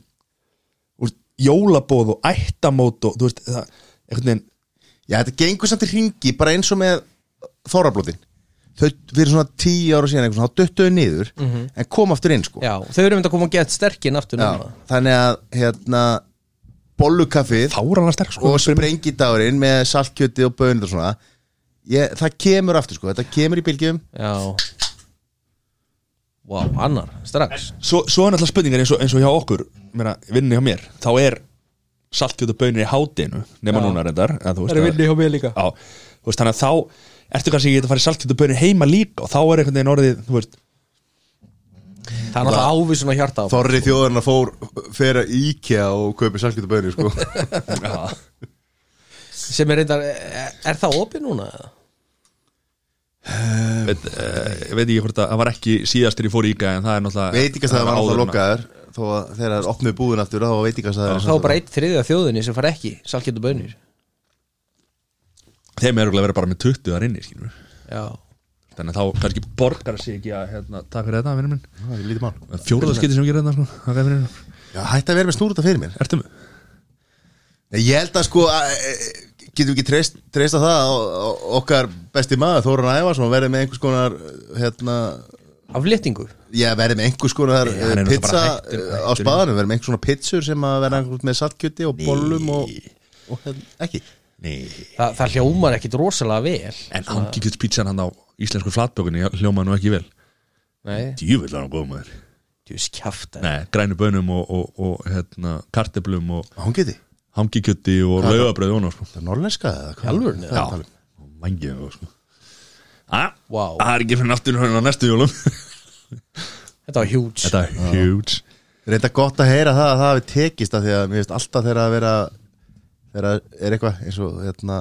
veist, Jólabóð og ættamót og, Þú veist, það, einhvern veginn Já, þetta gengur samt í ringi bara eins og með þorrablótin þau fyrir svona tíu ára síðan eitthvað, svona, þá döttuðu niður en kom aftur inn sko Já, þau eru mynd að koma og geta sterkinn aftur Já, núna þannig að hérna, bollukaffið fárana sterk sko, og fyrir mig. sprengidagurinn með saltkjöti og bönir og svona ég, það kemur aftur sko, þetta kemur í bylgjum Já Vá, annar, strax svo, svo er náttúrulega spurningar eins og, eins og hjá okkur meina, vinninni hjá mér, þá er saltkjöt og bönir í hátinu nema Já. núna reyndar en þú veist að- hjá mig líka á, þú veist, þannig að þá ertu kannski ekki að fara í saltkjöt og bönir heima líka og þá er einhvern veginn orðið þú veist, Það er náttúrulega ávísun og hjarta á Þorri þjóðurna fór fyrir að íkja og kaupi salkjötu bönni [LAUGHS] sko. Sem er reyndar, er, er það opið núna? eða? veit, uh, ég veit ekki hvort að það var ekki síðastir ég fór í íka en það er náttúrulega Veitingastæðar var alltaf áður en- lokaðar þó að þegar þær opnuðu búðin aftur þá var veitingastæðar Þá er bara eitt þriðið af þjóðinni sem fara ekki Salkjötu bönir þeim er örugglega að vera bara með 20 þar inni skilur. Já þannig að þá kannski borgar sig ekki að hérna, takk fyrir þetta vinnum minn Það er lítið mál fjóruðaskiti sem ég gerði þetta sko, þakka þér fyrir. Já, hætti að vera með snúruta fyrir mér ertu með? Nei, Ég held að sko að, e, e, getum við ekki treyst, treyst að það o- o- okkar besti maður Þóran Ævarsson verði með einhers konar hérna, Afléttingu já, verði með einhvers konar hann er e, nú pizza bara e, hættur- á hættur. spaðanum verði með einhvers konar pizzur sem að verða einhvers með saltkjöti og bollum og, og hérna, ekki nei Þa, Það hljómar ekkit rosalega vel En hangikjötspítsan hann á íslensku flatbökunni hljómaði nú ekki vel Nei, Djúvill var hann góð maður þú skjáft Nei, grænu bönum og, og, og hérna, karteblum og Hann geti hangikjötti og Hvað er það? laugabröð og hana sko. Það er norlenska eða hvað? Alvöru? Það er að tala Já, mængið og sko Ah, wow. Það er ekki fyrir náttúrulega á næstu jólum Þetta var huge Þetta er huge Reynda gott að heyra það að það hafi tekist af því að mér finnst alltaf þegar að vera þegar að er eitthvað eins og hérna,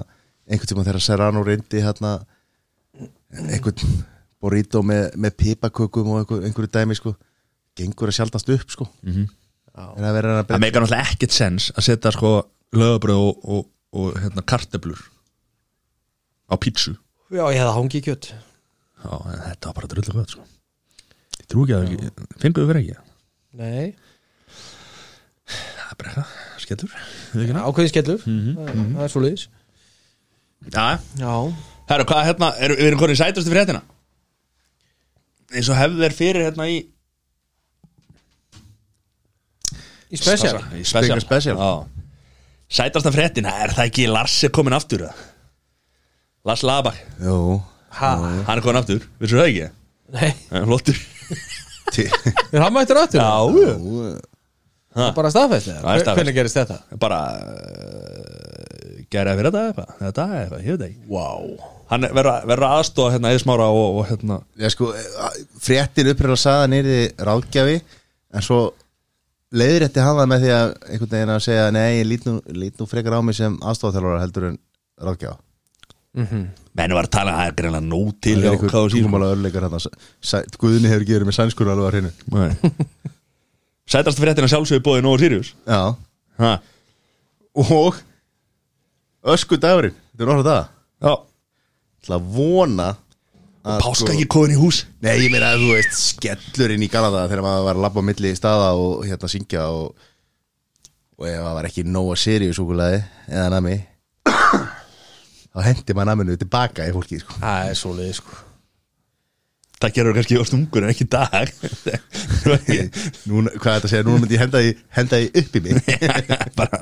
einhvern tíma þegar Serrano reyndi hérna, einhvern burrito með, með pipakökum og einhver, einhverju dæmi sko gengur að sjaldast upp sko Mhm. en að vera að [LAUGHS] Það meikar náttúrulega ekkert sens að setja sko laugabröð og, og, og hérna, karteblur á pítsu Já, ég hefði hangi kjött Já, en þetta var bara drullu gott sko Ég trú ekki að finnum við verið ekki Nei, Það er bara eitthvað, skellur ákveðin skellur Mhm, Það- mhm. Það er svo leiðis Já, Já Herru, hvað hérna, er, við erum konið í sætustu fréttina eins og hefði verið fyrir hérna í Í special Í special, special. Sætasta fréttin, það er það ekki Lars er komin aftur eða? Lars Labak, Jú, Ha, hann er komin aftur Vissu það ekki? nei, Hann er flottur er hann mættur aftur? Já, Það er bara staðfæst Það er staðfest. Hvernig gerist þetta? bara uh, gera fyrir þetta eitthvað þetta eitthvað, ég veit ekki Wow hann er- verður að- verður að aðstofa hérna eðismára og, og hérna Já, sko, fréttin uppröðlega saðan er þið ráðgjafi en svo leiðir þetta hafa með því að einhvern veginn að segja nei, ég lít nú, lít nú frekar á mig sem aðstofatælara heldur en ráðgjafa menn var að tala, það er greinlega nóg til Það hjá er einhver KSÍ, sko. tungumála örleikar hérna Sæ- Guðni hefur ekki verið með sænskur alveg að hreinu Nei. sætasta fréttina sjálfsögur bóði Nóa Sirius Já, ha. og ösku dagurinn, þetta er orðað það já, Það að vona að Sko. páska ekki kóðin í hús Nei, ég meina að þú veist skellurinn í Galada þegar maður var að labba á milli staða og hérna syngja og, og ef það var ekki nóga serius okkurlega eða nami [COUGHS] þá hendi maður naminu tilbaka í fólki sko. Það er svo leiðis sko það gerur kannski oft ungur en ekki í dag [LAUGHS] Núna, hvað er þetta að segja, núna myndi ég henda því, henda því upp í mig bara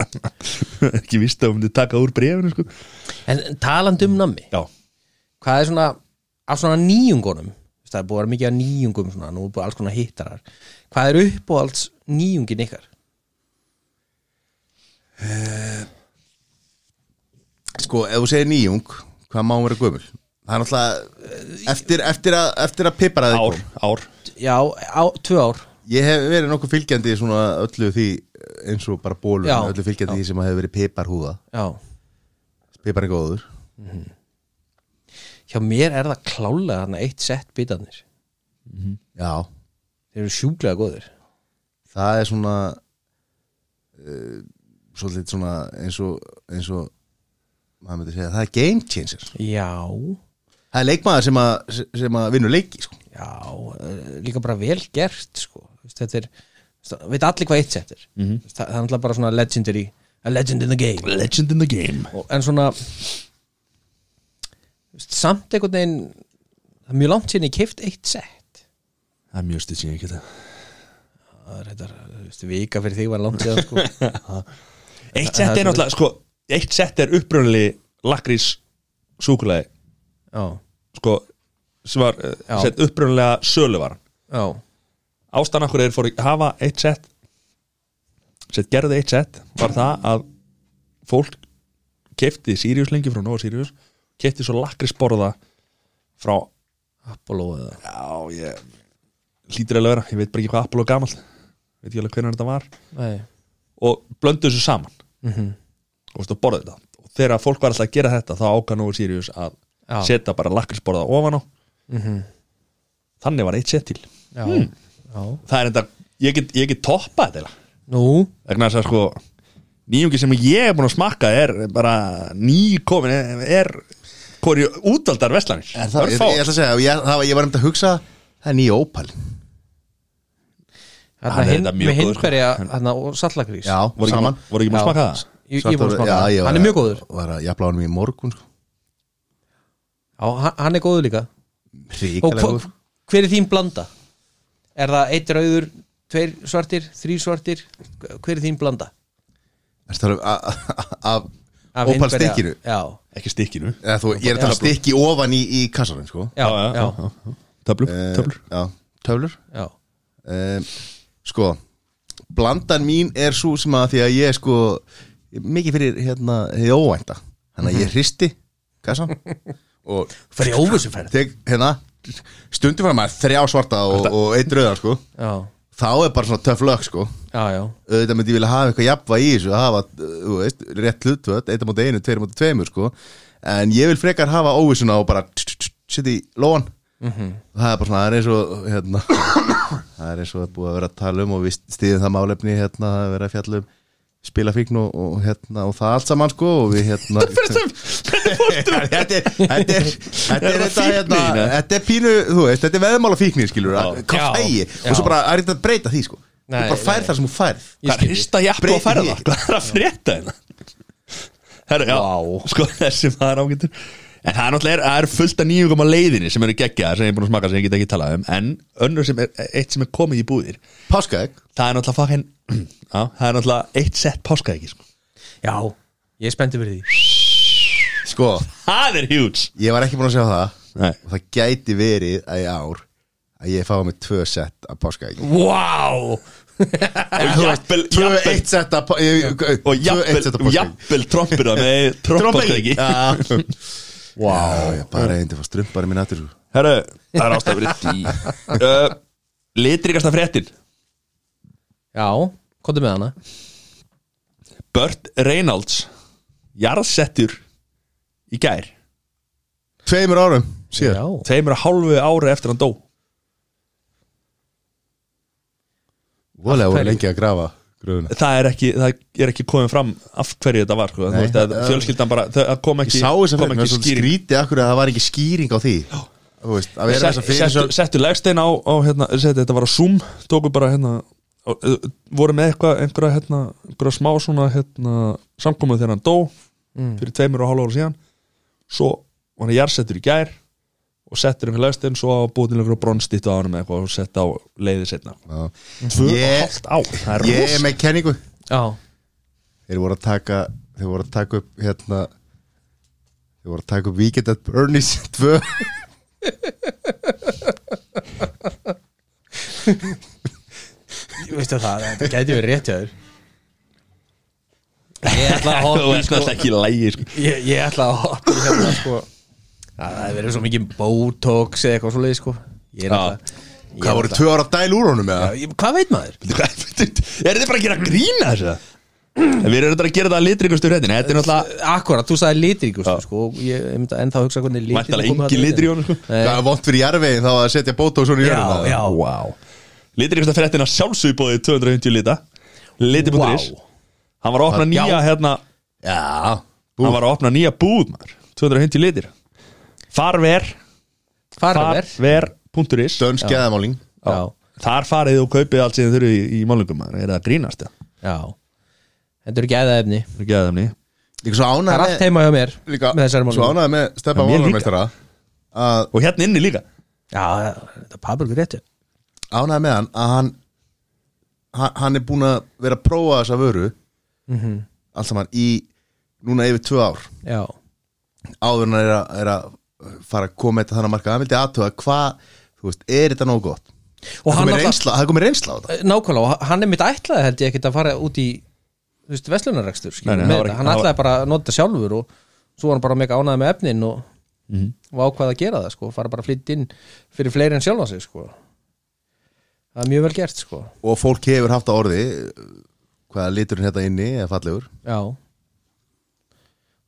ekki vist að hún myndi taka úr brefinu sko. En talandi um nammi já, hvað er svona af svona nýjungunum Þú veist, það er búið að vera mikið af nýjungum svona, nú er búið alls konar hittarar hvað er uppáhalds nýjungin ykkar Sko, ef þú segir nýjung, hvað má hún vera gömul? Það er náttúrulega eftir, eftir, að, eftir að pipara þig ár, kom. ár já, á, tvö ár Ég hef verið nokkuð fylgjandi í svona öllu því eins og bara bólur, Já. öllu fylgjandi því sem hefur verið piparhúða, já. pipar er góður hjá mér er það klálega þarna eitt sett bitarnir Já, þeir eru sjúklega góðir það er svona uh, svolítið svona eins og eins og maður myndi segja, það er game changer já, það er leikmaður sem að, sem að vinur leiki sko. já eh, líka bara vel gert sko. Þú veist, þetta er, þú veist, veit allir hvað eitt sett er mm -hmm. það er alltaf bara svona legendary a legend in the game legend in the game og, en svona samt einhvern veginn það er mjög langt síðan ég keift eitt sett það er mjög stuð síðan ekki þetta það er þetta, þú veist, vika fyrir þig var langt síðan sko. [LAUGHS] eitt sett er náttúrulega, sko, eitt sett er upprunali lakrís súkulæði já, sko, sem var Já. uh, sett upprunlega söluvaran já, ástæðan okkur er fór að hafa eitt sett sett gerði eitt sett var það að fólk kefti Sirius lengi frá Nóa Sirius kefti svo lakrisborða frá, Apollo eða já ég hlýtur eiginlega að vera, ég veit bara ekki hvað Apollo er gamall veit ekki alveg hvernig þetta var nei, og blöndu þessu saman Mhm. og, veist, og borða þetta og þegar fólk var alltaf að gera þetta þá ákvað Nóa Sirius að Já. Mhm. setja bara lakrisborða ofan á þannig var eitt sett til já, já það er enda, ég get, ég get toppað þetta eiginlega. nú, vegna þess að sko nýjungi sem ég er búin að smakka er bara nýkomin er, er hvori útaldar veslanir er það, ég, ég ætla að segja, ég, það, var- ég var um að hugsa það er nýja ópal Hann er þarna hinn þetta mjög með góður, sko. hinnberja þarna og sallagrís já, voru ekki, saman voru ekki búin að Já. smakka það ég, ég búin að smaka, já, ég hann var er að- mjög góður var að jafla honum í morgun sko. já, hann- hann er góður líka og ríkalega hva, góður hver er þín blanda? er það eitt rauður, tveir svartir þrý svartir, hver er þín blanda? Ertu að tala um a- a- Af af ópal Hindberja- stikkinu já, ekki stikkinu já, Eða þú, ég er að tala um stikki ofan í, í kassanum sko. já, já, já, töflur, Eh, töflur já, töflur já. um, sko blandan mín er svo sem að því að ég sko mikið fyrir hérna hið óvænta þannig Mhm. að ég hristi kassa og Fer í óvissuferð. tek, hérna, stundum fyrir maður þrjá svarta og, og eitt rauðan sko já. þá er bara svona töff lög sko já, já. auðvitað myndi ég vilja hafa eitthvað jafnvæg í þessu hafa, uh, þú veist, rétt hlutvöld eitt á móti einu, tveir á móti tveimur sko en ég vil frekar hafa óvissuna og bara sitt í lóan Mhm. það er bara svona, það er eins og hérna, [COUGHS] það er eins og það er búið að vera að tala um og við stýðum það málefni hérna, það er verið að fjalla um spilafíkn og, og hérna, og það allt saman sko og við hérna [LAUGHS] þetta er [LAUGHS] þetta er þetta er Er það þetta hérna, fíknin, eða? þetta er pínu, þú veist, þetta er veðmála fíknin skilur, Já. hvað fægi Já. og svo bara er þetta að breyta því sko þú Nei, bara fær nei. það sem þú færð Hvað er hrista jafn og færa það? Hvað er að frétta hérna? Herra, já, sko [LAUGHS] þessi maður ágættur En það er náttúrulega, það er fullt af nýjungum á leiðinni sem eru geggjaðar sem ég er búin að smaka sem ég get ekki talað um en önnur sem er, eitt sem er komið í búðir Páskaegg? Það er náttúrulega fokkin, [CLEARS THROAT] já, það er náttúrulega eitt sett páskaeggi, sko Já, ég er spenntið fyrir því Sko Það er huge Ég var ekki búin að sjá það Nei. Og það gæti verið að í ár Að ég fái mig tvö sett af páskaegg Wow jafnvel- Tvö jafnvel- eitt sett af páskaegg Og jafnvel, jafnvel trompir [LAUGHS] það með trompaskeggi Wow Ég bara einnig fór strumpari minn aftur sko. Herru, það er ástæður því [LAUGHS] uh, Litrikasta fréttin Já, komdu með hana Burt Reynolds Jarðsettur Í gær Tveimur árum síðar Tveimur og hálfu ári eftir hann dó Volega Af voru hverju? lengi að grafa gröfuna Það er ekki, það er ekki komið fram af hverju þetta var sko. Þú Nei. veist, að Fjölskyldan bara, það það kom Ég ekki sá þess að kom fyrir ekki Mér skýring skríti akkur að það var ekki skýring á því Þú veist, að vera þess að fyrir Settu, settu legstein á, á hérna, settu, þetta var á Zoom tóku bara hérna og, uh, voru með eitthvað, einhverja, hérna, einhverja smá svona hérna, samkomuð þegar hann dó Mm. fyrir tveimur og hálf ára síðan svo var hann jarsettur í gær og settur einhver legstein svo búið til einhverja bronsdýttu á hann með eitthvað og sett á leiði setna Tvö og Ég- hálft ár, það er Ég er rosa með kenningu Já. Þeir voru að taka Þeir voru að taka upp hérna Þeir voru að taka upp Weekend at Bernie's [LAUGHS] 2 Veistu það, þetta gæti verið rétt hjá þér Ég ætla að hoppa Þú í, ert náttúrulega ekki í lægi sko. ég, ég ætla að hoppa í hérna sko Það það hefur verið svo mikið botox eða eitthvað svoleiði sko Ég er náttúrulega Hvað ég er voru náttúrulega- tvö ára dæl úr honum eða? Já, ég- Hvað veit maður? [LAUGHS] Er þið bara að gera grína þessu? Við erum þetta að gera þetta að litrikustu hrettin Þetta er náttúrulega Akkurat, þú sagði litrikustu sko og Ég er einmitt að ennþá hugsa hvernig litir Væntanlega engin litur í honum, sko. Það er vont fyrir jarvegin þá að setja bóta og svona í Já, jörðina já, wow. Litrikusta fréttina sjálfsög bóðið 250 lita Liti.is Vá. Hann var að opna Það- nýja já. hérna Já, Hann var að opna nýja búð maður 250 litir Farver Farver. Farver.is Dönsk geðamáling já, Þar farið og kaupið allt sem þið þurfið í, í málingum maður Er það að grínast það? já Þetta eru gæðaefni Það er gæðamni Líka svo Það er ánægð allt heima hjá mér Líka með þessari málum svo ánægð með Steppa Já, mér líka. Málarmeistara Að Og hérna inni líka Já, þetta er pabelgur réttu ánægð með hann að hann hann- Hann er búin að vera að prófa þessa vöru Allt saman í Núna yfir tvö ár Já, áður en hann er, að- er að fara að koma þetta þannig að marka hann vildi aðtöða hvað, þú veist, er þetta nóg gott Og það hann komið alltaf- reynsla, það komið reynsla á þetta Eh, nákvæmlega, og hann er mitt ætlaði held ég ekkert að fara út í þú veist, veslunarrekstur Nei, skilur, nei, með það var þetta. ekki- hann það var- ætlaði bara að nota sjálfur og svo var hann bara mega ánæði með efnin og, Mhm. og ákvaði að gera það sko, fara bara að flytta inn fyrir fleiri en sjálfa sig sko. það er mjög vel gert sko. og fólk hefur haft að orði hvaða liturinn hérna inni er fallegur já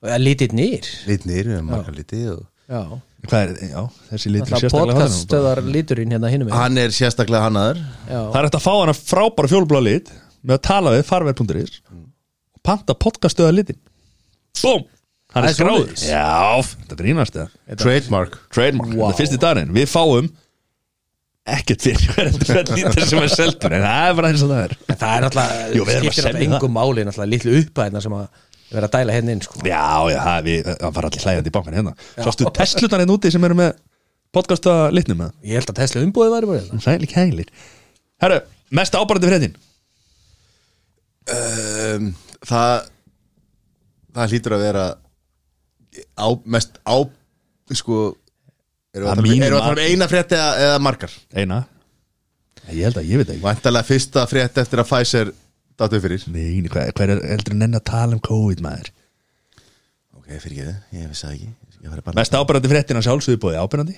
eða lítið nýr litnir, marga liti og... já, Hvað er, já, þessi litur alltaf sérstaklega hjá honum bara. Ah, podcaststöðar líturinn hérna hinum megin. hann er sérstaklega hannaður já, Það er hægt að fá hana frábæra fjólblá lit Með að tala við farver.is Og panta podcaststöða litin Búm, hann Það er er skráður svoleiðis. Já, þetta grínast það trademark trademark, Wow. þetta er fyrsti dagurinn við fáum ekkert fyrir [LAUGHS] hverjandi hvern lítur sem er seldur en það er bara eins og það er það er alltaf, Jú, við erum að skiptir alltaf selja það. engum máli alltaf litlu upphæðina sem að vera að dæla hérna inn sko. já, já, það, við, það var allir hlægjandi í bankan hérna sástu Teslutan hérna úti sem eru með podcasta litnum með ég held að Tesla umbúið væri bara hérna. sæli kælir herru, mest ábærandi fyrir hérna um, það það hlýtur að vera á, mest á sko erum við Að að tala um- mínu erum við að tala um mati. eina frétt eða, eða margar eina, ég held að ég veit það ekki væntalega fyrsta frétt eftir að Pfizer Dáttu fyrir Nei, hver, hver er heldur nenn að tala um COVID maður Ok, fyrir ekki þið, ég vissi það ekki Ég var bara Mest ábyrrandi fréttina sjálfsögðu bóði ábyrrandi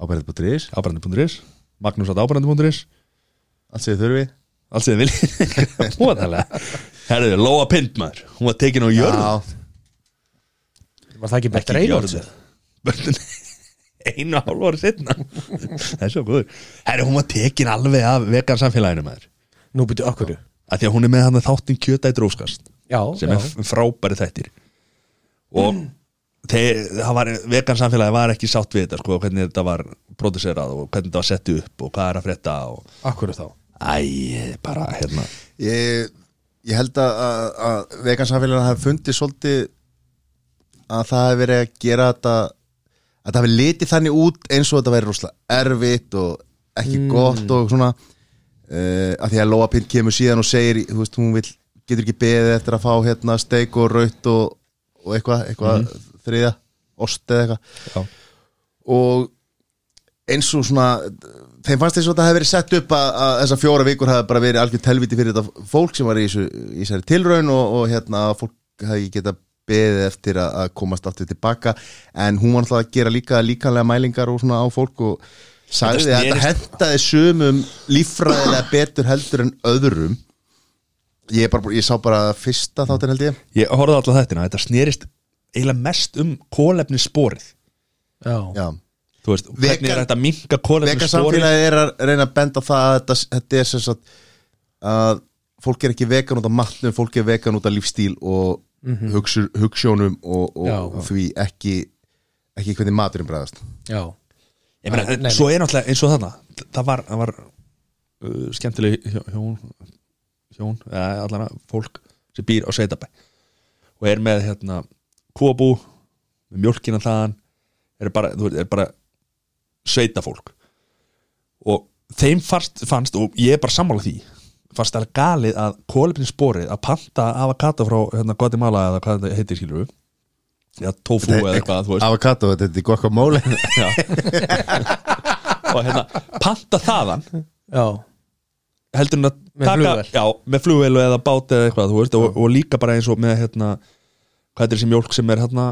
Ábærandi.is Ábyrrandi.is Magnús að ábyrrandi.is Allt segið þurfi Allt sem þið viljið [LAUGHS] Hóðalega Herðu, Lóa Pind maður Hún var tekin á jörðu Já, Var það ekki bara dreifort? Börnin Einu og hálf ára setna Það er svo góður Herru, hún var tekin alveg af vegan samfélaginu maður Nú byrju okkur að Því að hún er með hann þáttin kjöta í dróskast Já, sem já. er f- frábæri þættir og þeir, það var, vegan samfélagi var ekki sátt við þetta sko, hvernig þetta var producerað og hvernig þetta var sett upp og hvað er að frétta og Akkur þá æ, bara hérna ég, ég held að, að, að vegansamfélagin hafi fundið svolítið að það hafi verið að gera þetta að það hafi litið þannig út eins og þetta væri rosalega erfitt og ekki gott og svona uh, að því að Lóa Pind kemur síðan og segir þú veist, hún vill, getur ekki beðið eftir að fá hérna steik og raut og, og eitthvað, eitthvað þriðja, ost eða eitthvað Já. og eins og svona þeim fannst þess að það hefði verið sett upp að, að þessar fjóra vikur hefði bara verið algjör telviti fyrir þetta fólk sem var í, þessu, í þessari tilraun og, og hérna að fólk hefði geta beðið eftir að, að komast aftur tilbaka en hún var náttúrulega að gera líka líkanlega mælingar og svona á fólk og sagði Þetta að þetta snerist- hendaði sumum líffræðilega betur heldur en öðrum ég, er bara, ég sá bara fyrsta þáttin held ég ég horfði alltaf þættina, þetta snerist eiginlega mest um kólefni sporið Já, Já. þú veist, hvernig er Vegan- þetta að minka kólefni Veka sporið samfélagi er að reyna að benda á það að þetta, þetta er sem sagt að fólk er ekki vegan út af matnum fólk er vegan út af lífstíl og mm Mhm. hugssjónum og, og, Já. og því ekki ekki hvernig maturinn bræðast já ég meina, Nei, nei. svo er náttúrulega eins og þarna það var, það var uh, skemmtileg hjó- hjón hjón, eða allan að fólk sem býr á Sveitabæ og er með hérna kóbú með mjólkina þaðan er bara, þú veist, er bara sveitafólk og þeim fannst, fannst og ég er bara sammála því fannst það galið að kólefni sporið að panta avokata frá hérna Guatemala eða hvað þetta heitir skilur við eða tofu eða eitthvað, þú veist Avocado, þetta er guacamole Já. og hérna panta þaðan Já, heldur hún að Með taka flugvél. já, með flugvél eða bát eða eitthvað þú veist, og, og líka bara eins og með hérna hvað er þessi mjólk sem er hérna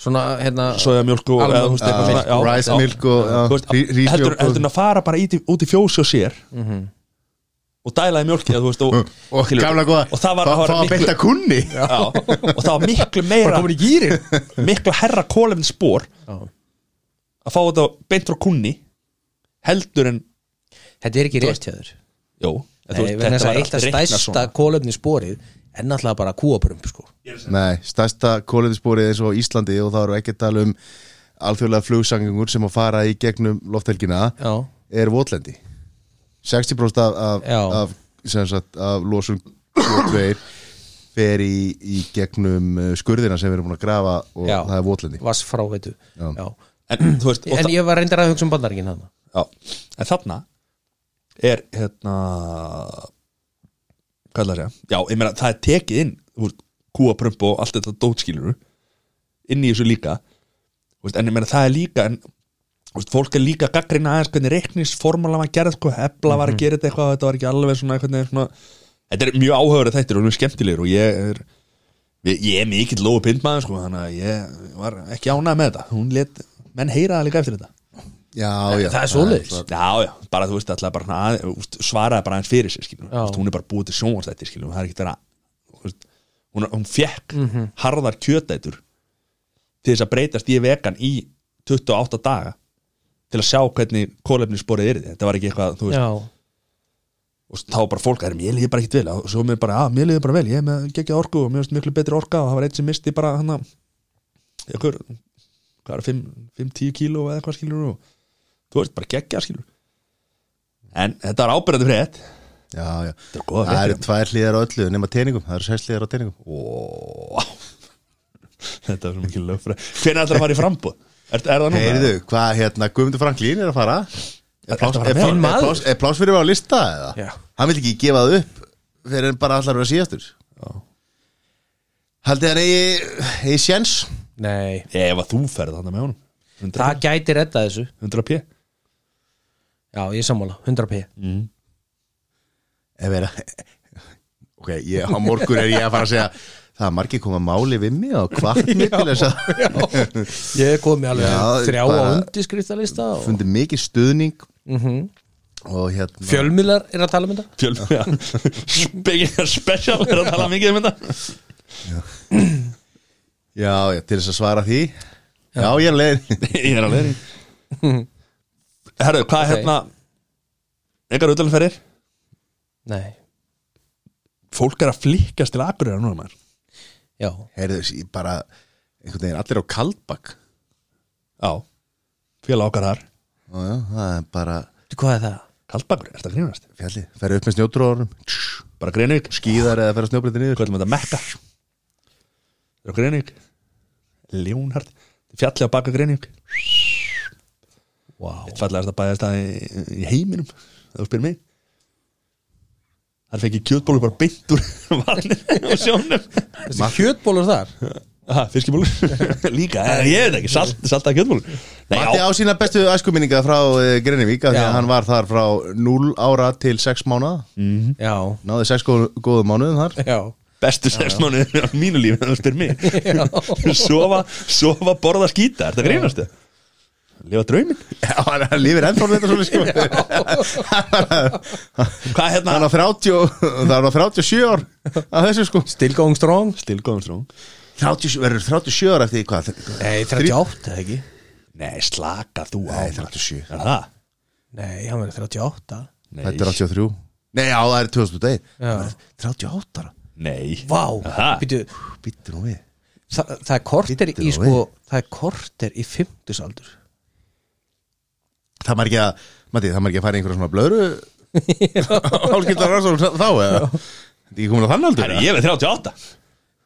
svona hérna soja mjólk og Almond eða, þú veist, eitthvað [LAUGHS] Já, svona, já, rice já. milk og já, Þú veist, rí- rísmjólk heldur, og- Mhm. heldur hún að fara bara í, út í fjósi og sér og dælaði mjólki eða, þú veist, og, Uh, Mm. og skilur- gamla góða og það var, það fá var að betta kunni já, og [LAUGHS] það var miklu meira komin í gýrin miklu herra kólefn spór Já. að fá þetta beint frá kunni heldur en Þetta er ekki rétt hjá þér Jó, Nei, vegna þess að eitt af stærsta kólöfni sporið er náttúrulega bara kúabrömb sko. Nei, stærsta kóliðisporið eins og á Íslandi og það eru ekki að tala um alþjóðlega flugsangengur sem að fara í gegnum lofthelgina Já, er votlendi 60% af, af, Já. af, sem sagt, af losun CO2 fer í, í gegnum uh, skurðina sem við erum búin að grafa og Já. það er votlendi vass fráveitu Já. Já. En, þú veist, og En ég var reyndar að hugsa um bandaríkin hann já, en þarna er hérna hvað ætla að segja já, ég meina það er tekið inn þú veist, kúaprömp og allt þetta dótskilur inn í þessu líka þú veist, en ég meina það er líka en, þú veist, fólk er líka að gaggrina aðeins hvernig reiknisformúla var gerð sko, hefla var að gera þetta eitthvað þetta var ekki alveg svona, hvernig, svona þetta er mjög áhauður þættir og mjög skemmtilegur og ég er ég, ég er mikill lóðu pindmaður sko, þannig að ég var ekki ánað með þetta hún let menn heyra það líka eftir þetta Já, já, Það er svoleiðis Já, já, bara þú veist, alltaf bara svona að, úst, svaraði bara aðeins fyrir sig, skiljum Já. úst, hún er bara búið til sjónvarsætti, skiljum það er ekkert vera þú veist, hún, hún fekk Mhm. harðar kjötætur til þess að breytast í vegan í 28 daga til að sjá hvernig kólefnisborið er þetta var ekki eitthvað, þú veist, Já, og þá var bara fólk að mér liði bara ekkert vel og svo mér bara, að mér liði bara vel, ég er með geggjað orku og mér finnst miklu betri orka og það var einn sem misti bara hann að ykkur, hvað er 5-10 kíló eða eitthvað skilur og þú veist bara geggjað skilur en þetta var ábyrðandi frétt já, já. þetta var góða Það eru frétt tvær hlýðar á öllu nema teiningum, það eru sex hlýðar á teiningum þetta var svo mikið lögfræð hvernig ætlar að fara í frambúð? Er, er það núna? Heyrðu, hvað hérna Guðmundur Franklín er að fara? Er Ertu pláss að fara er með pláss- hann? er pláss- er pláss fyrir mig á lista eða? Já. Hann vil ekki gefa það upp fyrir en bara allar að vera síðastur Haldið hann eigi, eigi séns? nei ef að þú ferð þarna með honum 100, Það gæti redda þessu 100 p Já, ég er sammála, 100p Ef er að [LAUGHS] ok, ég, á morgun er ég að fara að segja það er margir koma máli við mig og hvart [LAUGHS] mig til þess að ég er komið alveg þrjá á bara undirskriftalista og... fundið mikið stuðning mm Mhm. og hérna fjölmiðlar er að tala um þetta Spekingar special er að tala mikið um þetta já, já, til þess að svara því já, ég er að leiðin Ég er að leiðin Herru, hvað er Ok. hérna Engar auðvitaðferðir nei, Fólk er að flikkast til akureyra núna maður já, [LAUGHS] heyrðu, ég bara einhvern veginn allir á kaldbak Já, félag okkar þar já, já, það er bara Veitu hvað er það? Kaldbakur, er þetta grínast? fjalli, ferðu upp með snjótrúarum Bara Greinvík, skýðar eða ferðu snjóbreytið niður kvöldum þetta Mekka Það er á Greinvík Ljónhart Fjallið á baka Greinvík wow. Eitt fallegast að bæðast það í, í heiminum Það spyrir mig Það fekk ég kjötbólur bara beint úr [LAUGHS] valnir og sjónum þessi kjötbólur [LAUGHS] þar Aha, fiskibólur Líka, eh, ég veit ekki, salt, saltaði kjötbólur Nei, Matti já, á sína bestu æskuminninga frá uh, Greinivík af því Já. að hann var þar frá 0 ára til 6 mánuða já, náði 6 góð, góðum mánuðum þar já, bestu sex mánu á mínu lífi, það spyrir mig Sofa, sofa, borða, skýta Er þetta grínastu? Lifa drauminn Já, hann hann lifir ennþá við þetta [LAUGHS] svolítið sko Hvað hérna? Hann á 30 og- Það er á 37 ár að þessu sko still going strong Still going strong 37, verður 37 ár eftir hvað? nei, 38 eða ekki Nei, slaka þú á Nei, maður. 37. Er það? nei, hann verður 38 Nei, Þetta er 83 Nei, já, það er 2001 Já. 38 ára Nei vá, Aha. býtu Býttu nú við Þa, það er korter Bíddu í nú sko við. það er korter í fimmtusaldur Það maður ekki að Matti, það maður ekki að fara í einhverja svona blöðru [LAUGHS] Álskildar rannsókn þá eða Þetta er ekki komin á þann aldur Herri, ég er með 38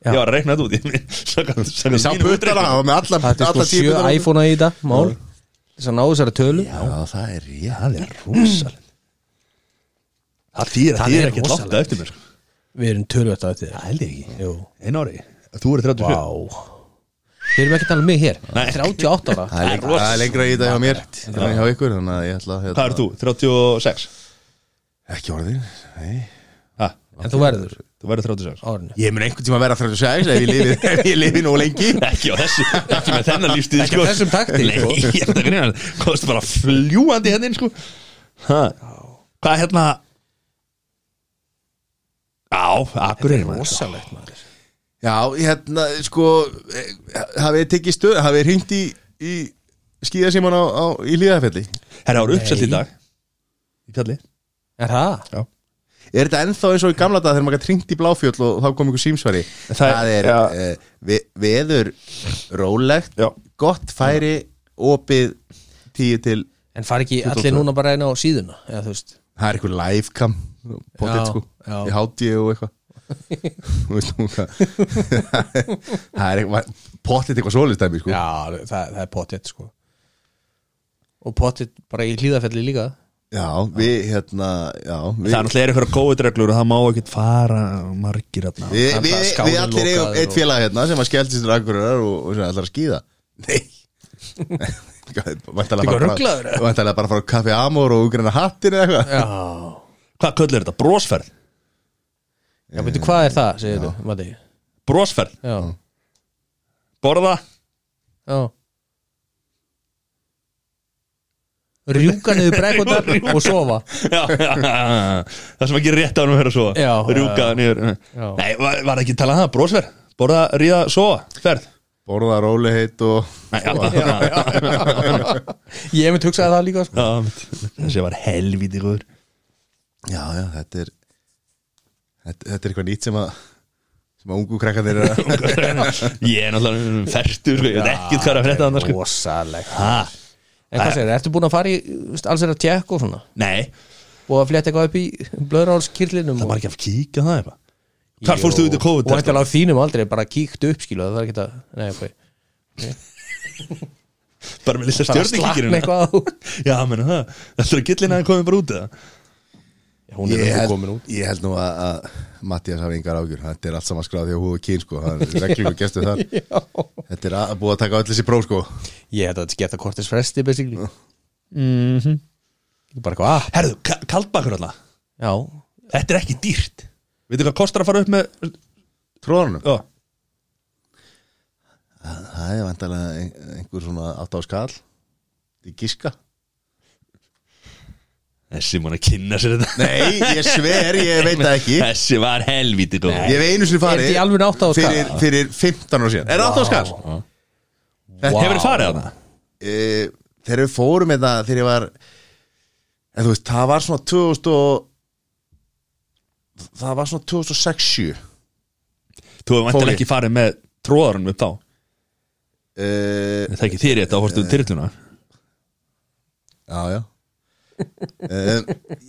Ég var að reikna þetta út Ég sakaði- sakaði Ég sá mínu puttana útreikningu. og með alla það er alla sko tíu sjö puttana. iPhone-a í þetta mál þess að ná þessari tölu Já, það er, já, það er rosalegt Það þýr, Það það þýr er ekki rosalegt. látt eftir mér sko. við erum tölvöld á eftir Það held ég ekki Jú. Einn ári Þú eru 37 Vá Við erum ekki að tala um mig hér Nei. 38 ára Það er lengra- það er lengra í þetta hjá mér Það er hjá ykkur, þannig að ég ætla að Hvað er þú? 36 Ekki orðin, nei ha, En þú verður Þú verður 36 árinu Ég mun einhvern tíma vera 36 ef ég lifi, ef ég lifi nú lengi Ekki á þessu Ekki með þennan lífstíð Ekki á þessum takti, Nei, sko. ég er þetta grínast Kostu bara fljúandi hérna inn sko ha. Hvað er hérna Á, akkurinn Ósalegt maður Já, hérna, sko eh, hafið þið tekið stöð, hafið þið hringt í, í skíðasíman á, á, í líðafelli Herra, ára uppsett í Nei. dag Í fjalli Er það? Já Er þetta ennþá eins og í gamla dag þegar maður gætt hringt í bláfjöll og þá kom einhver símsvari Það- Það, er já. eh, ve, veður rólegt, Já. gott færi opið tíu til En fari ekki allir 22. núna bara einn á síðuna eða þú veist það er eitthvað livecam potið Já, sko, já. í hátíu og eitthvað [LAUGHS] Þú veist nú hvað [LAUGHS] það er eitthvað potið eitthvað svolistæmi sko Já, það, það er pottet sko Og pottet bara í hlýðafelli líka Já, við hérna já, við, Það er náttúrulega eitthvað góðið reglur og það má ekkert fara margir hérna við, það er við, bara skálinn við allir lokaður eigum eitt og- félag hérna sem að skeldist til akkurar og, og sem ætlar að skýða Nei [LAUGHS] Væntalega Eitthvað bara, ruglaður, eða? væntanlega bara að fara á kaffi amor og greina hattin eða eitthvað Já Hvað köllir þetta? Brósferð? Já, veitu hvað er það, segir þú, Matti Brósferð? Já, Borða? já Rjúka niður brekkundar og sofa Já, já, já. [LAUGHS] það sem ekki er rétt á hann að vera svo Já, Rjúka já. niður Já. Nei, var, var ekki talað um það? Brósferð? Borða, ríða, sofa? Ferð? borða róli heitt og Nei, já, já, já, Ég hef mynd hugsaði það líka [LAUGHS] sko. já mitt. Þessi var helvítið góður Já, já, þetta er þetta, þetta er eitthvað nýtt sem að sem að ungu krakkanir er að Ég er náttúrulega fertur sko, Ég veit ekkert hvað er að frétta þannig sko. Rosalegt Ha? En hvað segir, ertu búin að fara í þú veist, alls er að tjekk og svona Nei, og að fletta eitthvað upp í blöðrálskirlinum það var ekki að kíka það eitthvað Hvar fórstu út í COVID? Og hættilega á þínum aldrei bara kíkt upp skilu það er ekki að, nei ok Bara með lilla Bara slakna stjörnikíkirinn eitthvað á Já, menn það, þetta er að gillina að komið bara út eða Hún ég, er ekki held, komin út ég held nú að, að Mattias hafi yngar ágjur, þetta er allt saman skráð því að húð og kyn sko, hann reglur og gestur [LAUGHS] þar þetta er að, búið að taka öll þessi próf sko Ég held að þetta skipta kortis fresti basically Bara eitthvað, ah, Herðu, ka- kaldbakur alltaf já Þetta er ekki dýrt Veitir hvað kostar að fara upp með Tróðanum? Já Það er vantarlega ein- einhver svona átt á skall Í giska Þessi mann að kynna sér þetta Nei, ég sver, ég veit það ekki [LAUGHS] Þessi var helvíti góð Ég hef einu sinni farið Er þetta í alvöru átta á skall? Fyrir, fyrir 15 ára síðan Er það átt á skall? Þetta hefur farið hana E, þegar við fórum með það Þegar ég var En þú veist, það var svona 2000 og Það var svona 2006-7 Þú hefur Fór vantilega ég. ekki farið með tróðarunum upp þá e, Það er ekki þér í þetta, þá fórstu til þérluna Já, já Eh,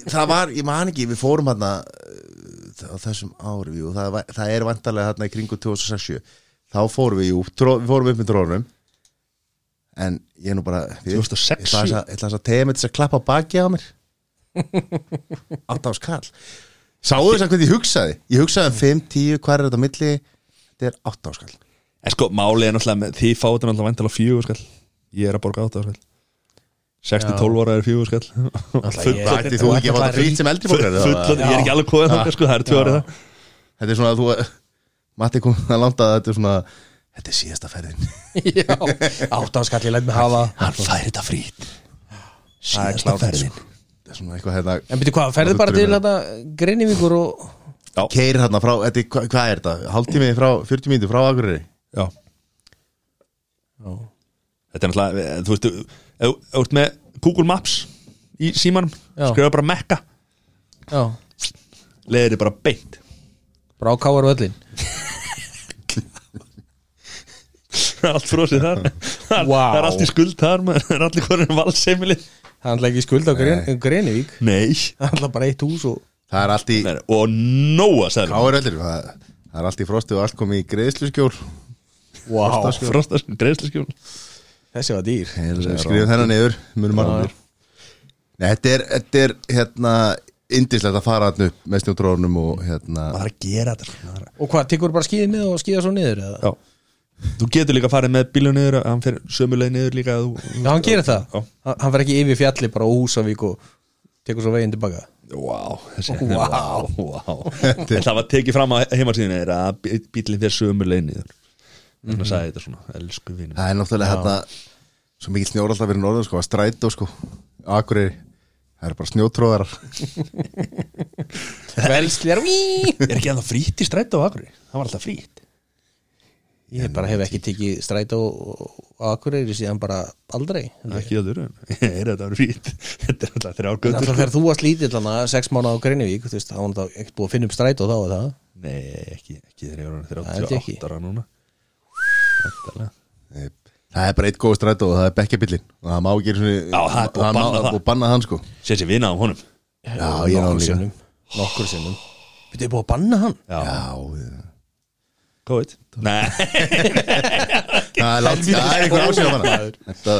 Það var, ég man ekki, við fórum hérna uh, á þessum ári jú, það, var- það er vantarlega hérna í kringu 2060 þá fórum við, jú, tró, við fórum upp með trónum en ég er nú bara ég- 2006? Ég ætla aðeins að- ég ætla aðeins að tegja með þess að klappa á baki á mér Átt ás kall Sáðu þess að hvernig ég hugsaði Ég hugsaði um 5, 10, hvað er þetta á milli Þetta er átt ás kall En sko, málið er náttúrulega með, Þið fáið þetta náttúrulega vantilega fjögur skall Ég er að borga átta skall 6-12 ára er fjögur skall ég- Ætti þú ekki að fá þetta frítt sem eldri borgari, þá? Fullan, ég er ekki alveg kóðið Ah. þangað sko, það er tvö árið það Þetta er svona að þú [LAUGHS] Matti kom að landa að þetta er svona Þetta er síðasta ferðin Já, átt áskall ég læt mig hafa Hann fær þetta frýtt Það er klárt, sko. Þetta er svona eitthvað hérna En byrju hvað, ferðu bara til þetta Grinnivíkur og Keir hérna frá, þetta, er- hva, hvað er þetta? Hálftími frá, 40 mínútur frá Akureyri Já Þetta er Ah. náttúrulega, þú veist ef- Ef þú ert með Google Maps í símanum, Já. skrifa bara mekka Já, leiðir þið bara beint [LAUGHS] bara á káar völlin allt frósið þar það Vá. er allt í skuld þar maður. það er allir hverjum valseimili Það er alltaf ekki skuld á Grin- Grenivík nei Það er alltaf bara eitt hús og Það er allt í Nei, og nóa sæðum Káir öllir Það það er allt í frostu og allt komið í greiðsluskjól Vá, fróstar greiðsluskjón þessi var dýr Skrifum þennan niður, munum mann Nei, þetta er, þetta er hérna Indislegt að fara hann upp með snjótrónum og hérna maður þarf að gera þetta svona. Maður- Og hvað, tekur bara skíðið með og skíða svo niður eða? já þú getur líka að fara með bílu niður hann fer sömuleið niður líka að þú, Já, hann gerir það Já. Hann hann fer ekki yfir fjalli bara á Húsavík og tekur svo veginn tilbaka Vá, þessi, Vá. vá. [LAUGHS] En það var tekið fram á heimasíðinu er að bí- bíllinn fyrir sömu leiniður þannig að sagði þetta svona, elsku [LAUGHS] vinn Það er náttúrulega hérna Svo mikill snjór alltaf verið norðan sko að strætó sko Akureyri Það eru bara snjótróðarar Velslir, vííí er ekki ennþá frýtt í strætt á Akurey það var alltaf frýtt Ég bara hef ekki tekið strætó á Akureyri síðan bara aldrei ekki að þurru, [LAUGHS] er þetta verið frýtt [LAUGHS] þetta er alltaf þrjár Þannig göttur að þegar þú varst lítill hana sex mánu á Greinivík þú veist, þá var hann þá ekkert búið að finna upp strætó þá er það nei, ekki, ekki þegar ég var orðinn Það held ég ekki. 38 ára núna Væntanlega. Það er bara eitt góð strætó og það er bekkjabillin og það má ekki einu sinni- Já, það er búið má- að banna það. búið að banna hann sko sé sér vinað á honum Já, ég er á hann líka sinnum Nokkur sinnum Þetta er búið að banna hann já, Já, já. COVID nei, [LAUGHS] Það er langt, það er einhver ásíða manna Þetta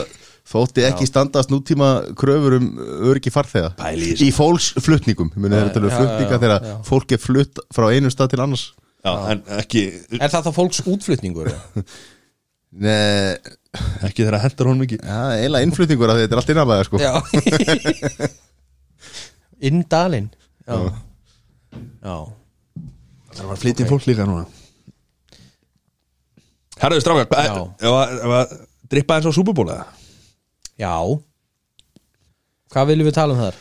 þótti ekki standast nútíma kröfur um öryggi farþega Pæli í Í fólksflutningum Muni þeirra tölum flutninga þegar fólk er flutt frá einum stað til annars já, en ekki Er það þá fólks útflutningur? eða? Nei, ekki þegar það hendur honum ekki það er eiginlega innflutningur af því þetta er allt innanlega sko [LAUGHS] Já Inn dalinn Já Já Það var flytjum fólk líka núna Herðu strákar hvað- Já. ef að- ef að Drippa eins á Superból eða? Já Hvað viljum við tala um þar?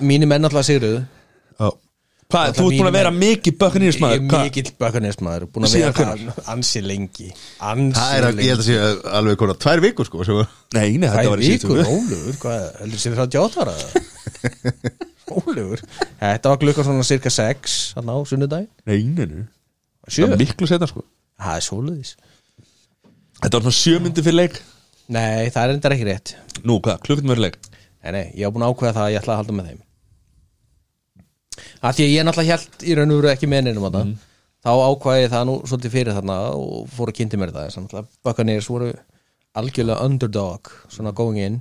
Mínir menn alltaf sigruðu Já Hvað, þú ert búin að vera mikið Ég er böknirismæður mikill bökkarnesmaður Búin að Síðan vera það ansi lengi Ansi Það er, að- ég held lengi að sé alveg konar tvær vikur sko sem, Nei, nei, þetta Það var er í síðustu vikur, viku. Ólöfur, hvað, heldur sér 38 ára? [LAUGHS] Ólöfur, þetta var klukkan svona cirka 6 hann á sunnudag, Nei, nei, nei Það 7 var miklu setna sko Það er svoleiðis Þetta var svona sjö myndi fyrir leik Nei, það er endur ekki rétt Nú, hvað, klukkutum verið leik Nei, nei, ég á búin að ákveða það að ég ætla að halda með þeim að Því að ég náttúrulega held í raun og veru ekki með neinum þetta Mm. þá ákvaði ég það nú svolítið fyrir þarna og fór að kynnti mér það þannig að Buccaneers voru algjörlega underdog svona going in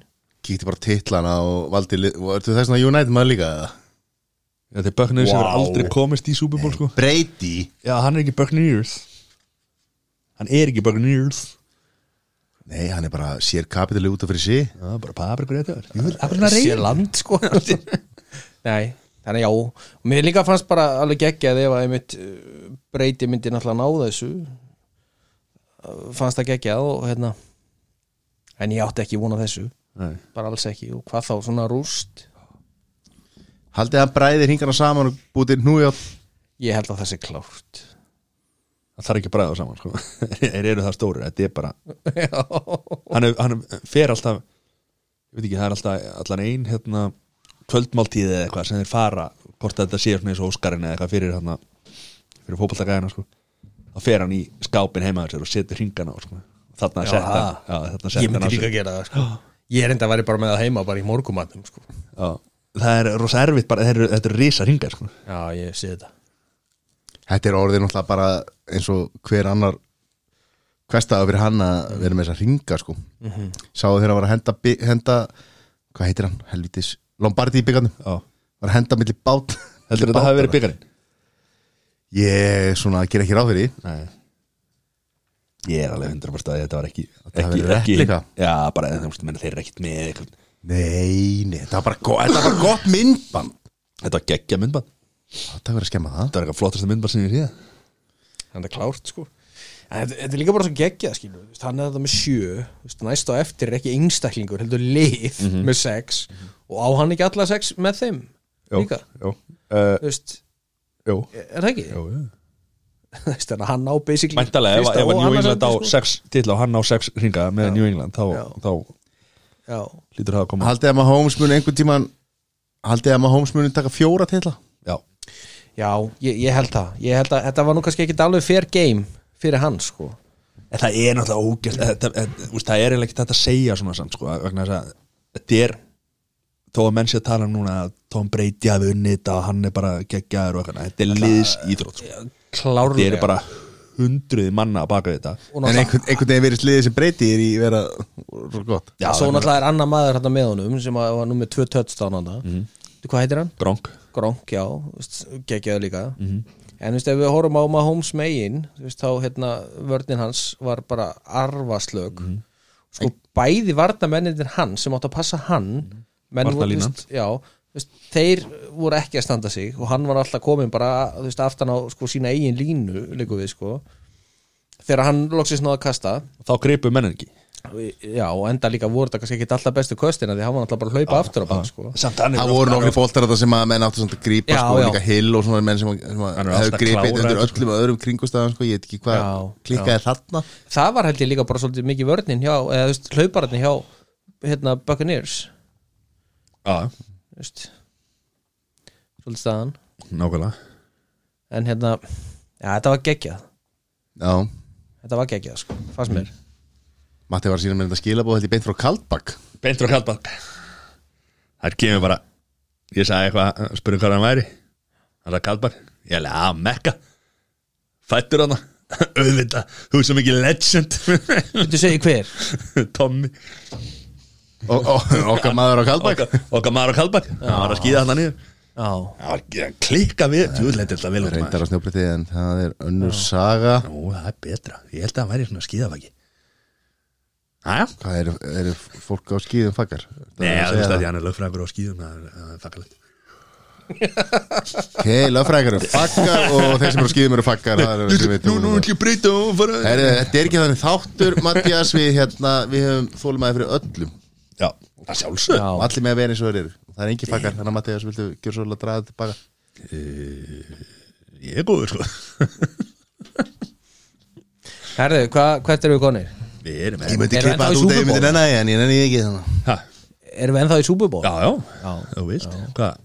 Kíkti bara titlana og valdi lið- og Ertu þess að United maður líka eða? Þetta er bökniris sem Vá. hefur aldrei komist í Superból sko Brady Já, hann er ekki bökniris Hann er ekki bökniris Nei, hann er bara sér kapitali út af fyrir sig [LAUGHS] Já, bara paprikur þetta Sér land sko Nei, þannig já, og mér líka fannst bara alveg geggjað ef að einmitt uh, breyti myndi náttúrulega ná þessu Uh, fannst það geggjað og hérna en ég átti ekki vona þessu Nei. bara alls ekki og hvað þá, svona rúst Haldið að bræðir hingana saman og bútið nújátt ég held að það sé klárt það þarf ekki að bræða þá saman sko. [LAUGHS] þeir eru það stóri, þetta er bara hann, er- hann fer alltaf ég veit ekki, það er alltaf allan ein hérna, kvöldmáltíð eða eitthvað sem þeir fara hvort þetta sé svona eins og Óskarinn eða eitthvað fyrir hérna, fyrir fótballtakaðina sko. þá fer hann í skápin heima hjá sér og setur hringana á sko. þarna Já, að setja það. þarna ég setti hann á myndi sig. líka að gera það sko. [GASPS] ég er enda að væri bara með það heima bara í morgumatum sko. Já, það er rosa erfitt bara, þeir eru- þetta er risa hringar sko. já, ég sé þetta Þetta er orðið náttúrulega bara eins og hver annar hverstaða fyrir hann að vera með þess að ringa sko Mhm. Sáðu þegar hann var að henda, bi- henda hvað heitir hann, helvitis Lombardi í byggarnum Já. var að henda milli bát Heldur þetta hafi verið byggarinn? Ég svona ger ekki ráð fyrir því. ég er alveg 100% að þetta var ekki hafi ekki, verið replika. já, bara þú veist, menn, þeir eru ekkit með eitthvað Nei, nei, þetta var bara, go þetta var bara gott myndband Þetta var geggja myndband Þetta var að skemma það Þetta var eitthvað flottasta myndband sem ég séð þannig að klárt sko. en þetta, þetta er líka bara svo geggjað skilur við. hann er þetta með sjö þú veist, næst á eftir er ekki einstaklingur heldur lið Mhm. með sex og á hann ekki alla sex með þeim Jó, líka jó. Uh, Þú veist, Jó er það ekki? Jó, [LAUGHS] Þú veist, þannig að hann á basically Mæntalega, ef, fyrsta ef að og New annars England á sæti, sko. sex titla og hann á sex ringa með New England þá, þá Já. lítur það að koma Haldið að maður Holmes muni einhvern tíman Haldið að maður Holmes muni taka fjóra til Já Já, ég, ég held það Ég held að þetta var nú kannski ekki alveg fair game fyrir hann sko En það er náttúrulega ógæst það, það, það er eiginlega ekki þetta að segja svona samt sko, vegna þess að þetta er þó að menn sé að tala um núna að Tom Brady hafi unnið þetta og hann er bara geggjaður og eitthvað, þetta er liðs íþrótt sko. klárlega. Þetta er bara hundruði manna að baka við þetta En einhvern, einhvern veginn verið sliðið sem breyti er í vera Svo gott Já, Svo náttúrulega er annar maður hérna með honum sem að- var nú með tvö tötstán hann Mhm. mm Hvað heitir hann? Gronk Gronk, já, þú veist, geggjaður líka Mhm. En þú veist, ef við horfum á Mahomes megin þú veist, þá hérna vörnin hans var bara arfaslög Mhm. Sko bæði varnamenninir hann sem átt að passa hann menn voru, þú Mhm. Varnarlínan. veist, já, þú veist, þeir voru ekki að standa sig og hann var alltaf komin bara þú veist, aftan á sko, sína eigin línu líku við sko þegar hann loksist náða að kasta Þá gripu menn ekki já, og enda líka voru þetta kannski ekki alltaf bestu köstina því hann var alltaf bara að Ah, hlaupa aftur á hann sko. Samt hann Það voru nokkri bóltar þetta sem að menn áttu samt að grípa Já, sko, og já. líka hill og svona menn sem, að- sem að Hann er hefur alltaf gripið klárar, undir sko. öllum öðrum kringustafan sko, ég veit ekki hvað Já, klikkaði já. þarna það var held ég líka bara svolítið mikið vörnin hjá, eða þú veist, hlaupararnir hjá hérna Buccaneers Já, þú veist svolítið staðan nákvæmlega en hérna, já, þetta var geggjað Já, þetta var geggjað, sko, fannst [LAUGHS] mér Matti var að sína mér þetta skilabóð held ég beint frá Kaldbak Beint frá Kaldbak Það kemur bara Ég sagði eitthvað, spurði hvað hann væri Hann sagði Kaldbak, ég alveg að mekka Fættur hann [LAUGHS] Auðvitað, þú er svo mikið legend [LAUGHS] Þú segir hver? Tommy Og- og- [LAUGHS] Okkar maður á Kaldbak Okkar okkar maður á Kaldbak Það var að skýða hann niður Já Það var að klikka við Júðlega þetta vel út Reyndar á snjóbriti en það er önnur saga Nú, það er betra Ég held að það væri svona skýðafaki Æja Hvað eru er fólk á skýðum faggar? Nei, þú veist að ég hann er lögfrækur á skýðum Það er- það er þakkalegt Ok, löffrækar eru faggar og þeir sem eru á skýðum eru faggar það er það sem við Nú, vitum. nú, ætlum ég að breyta og fara Herri, Þetta er ekki þannig þáttur, Mattias við, hérna, við höfum þólum aðeins fyrir öllum Já, það sjálfsög og allir með að vera eins og þeir eru það er engi fakkar, þannig að Mattias viltu gera svo að draga þetta tilbaka Ég er góður sko Herðu, hva, hvert eru við konir? Við erum ég myndi Er klippa ennþá í það út ef ég Super myndi Bowl? nenni það, en ég nenni því ekki þannig Ha, Erum við ennþá í Super Bowl? já, já, Já. þú veist Hvað?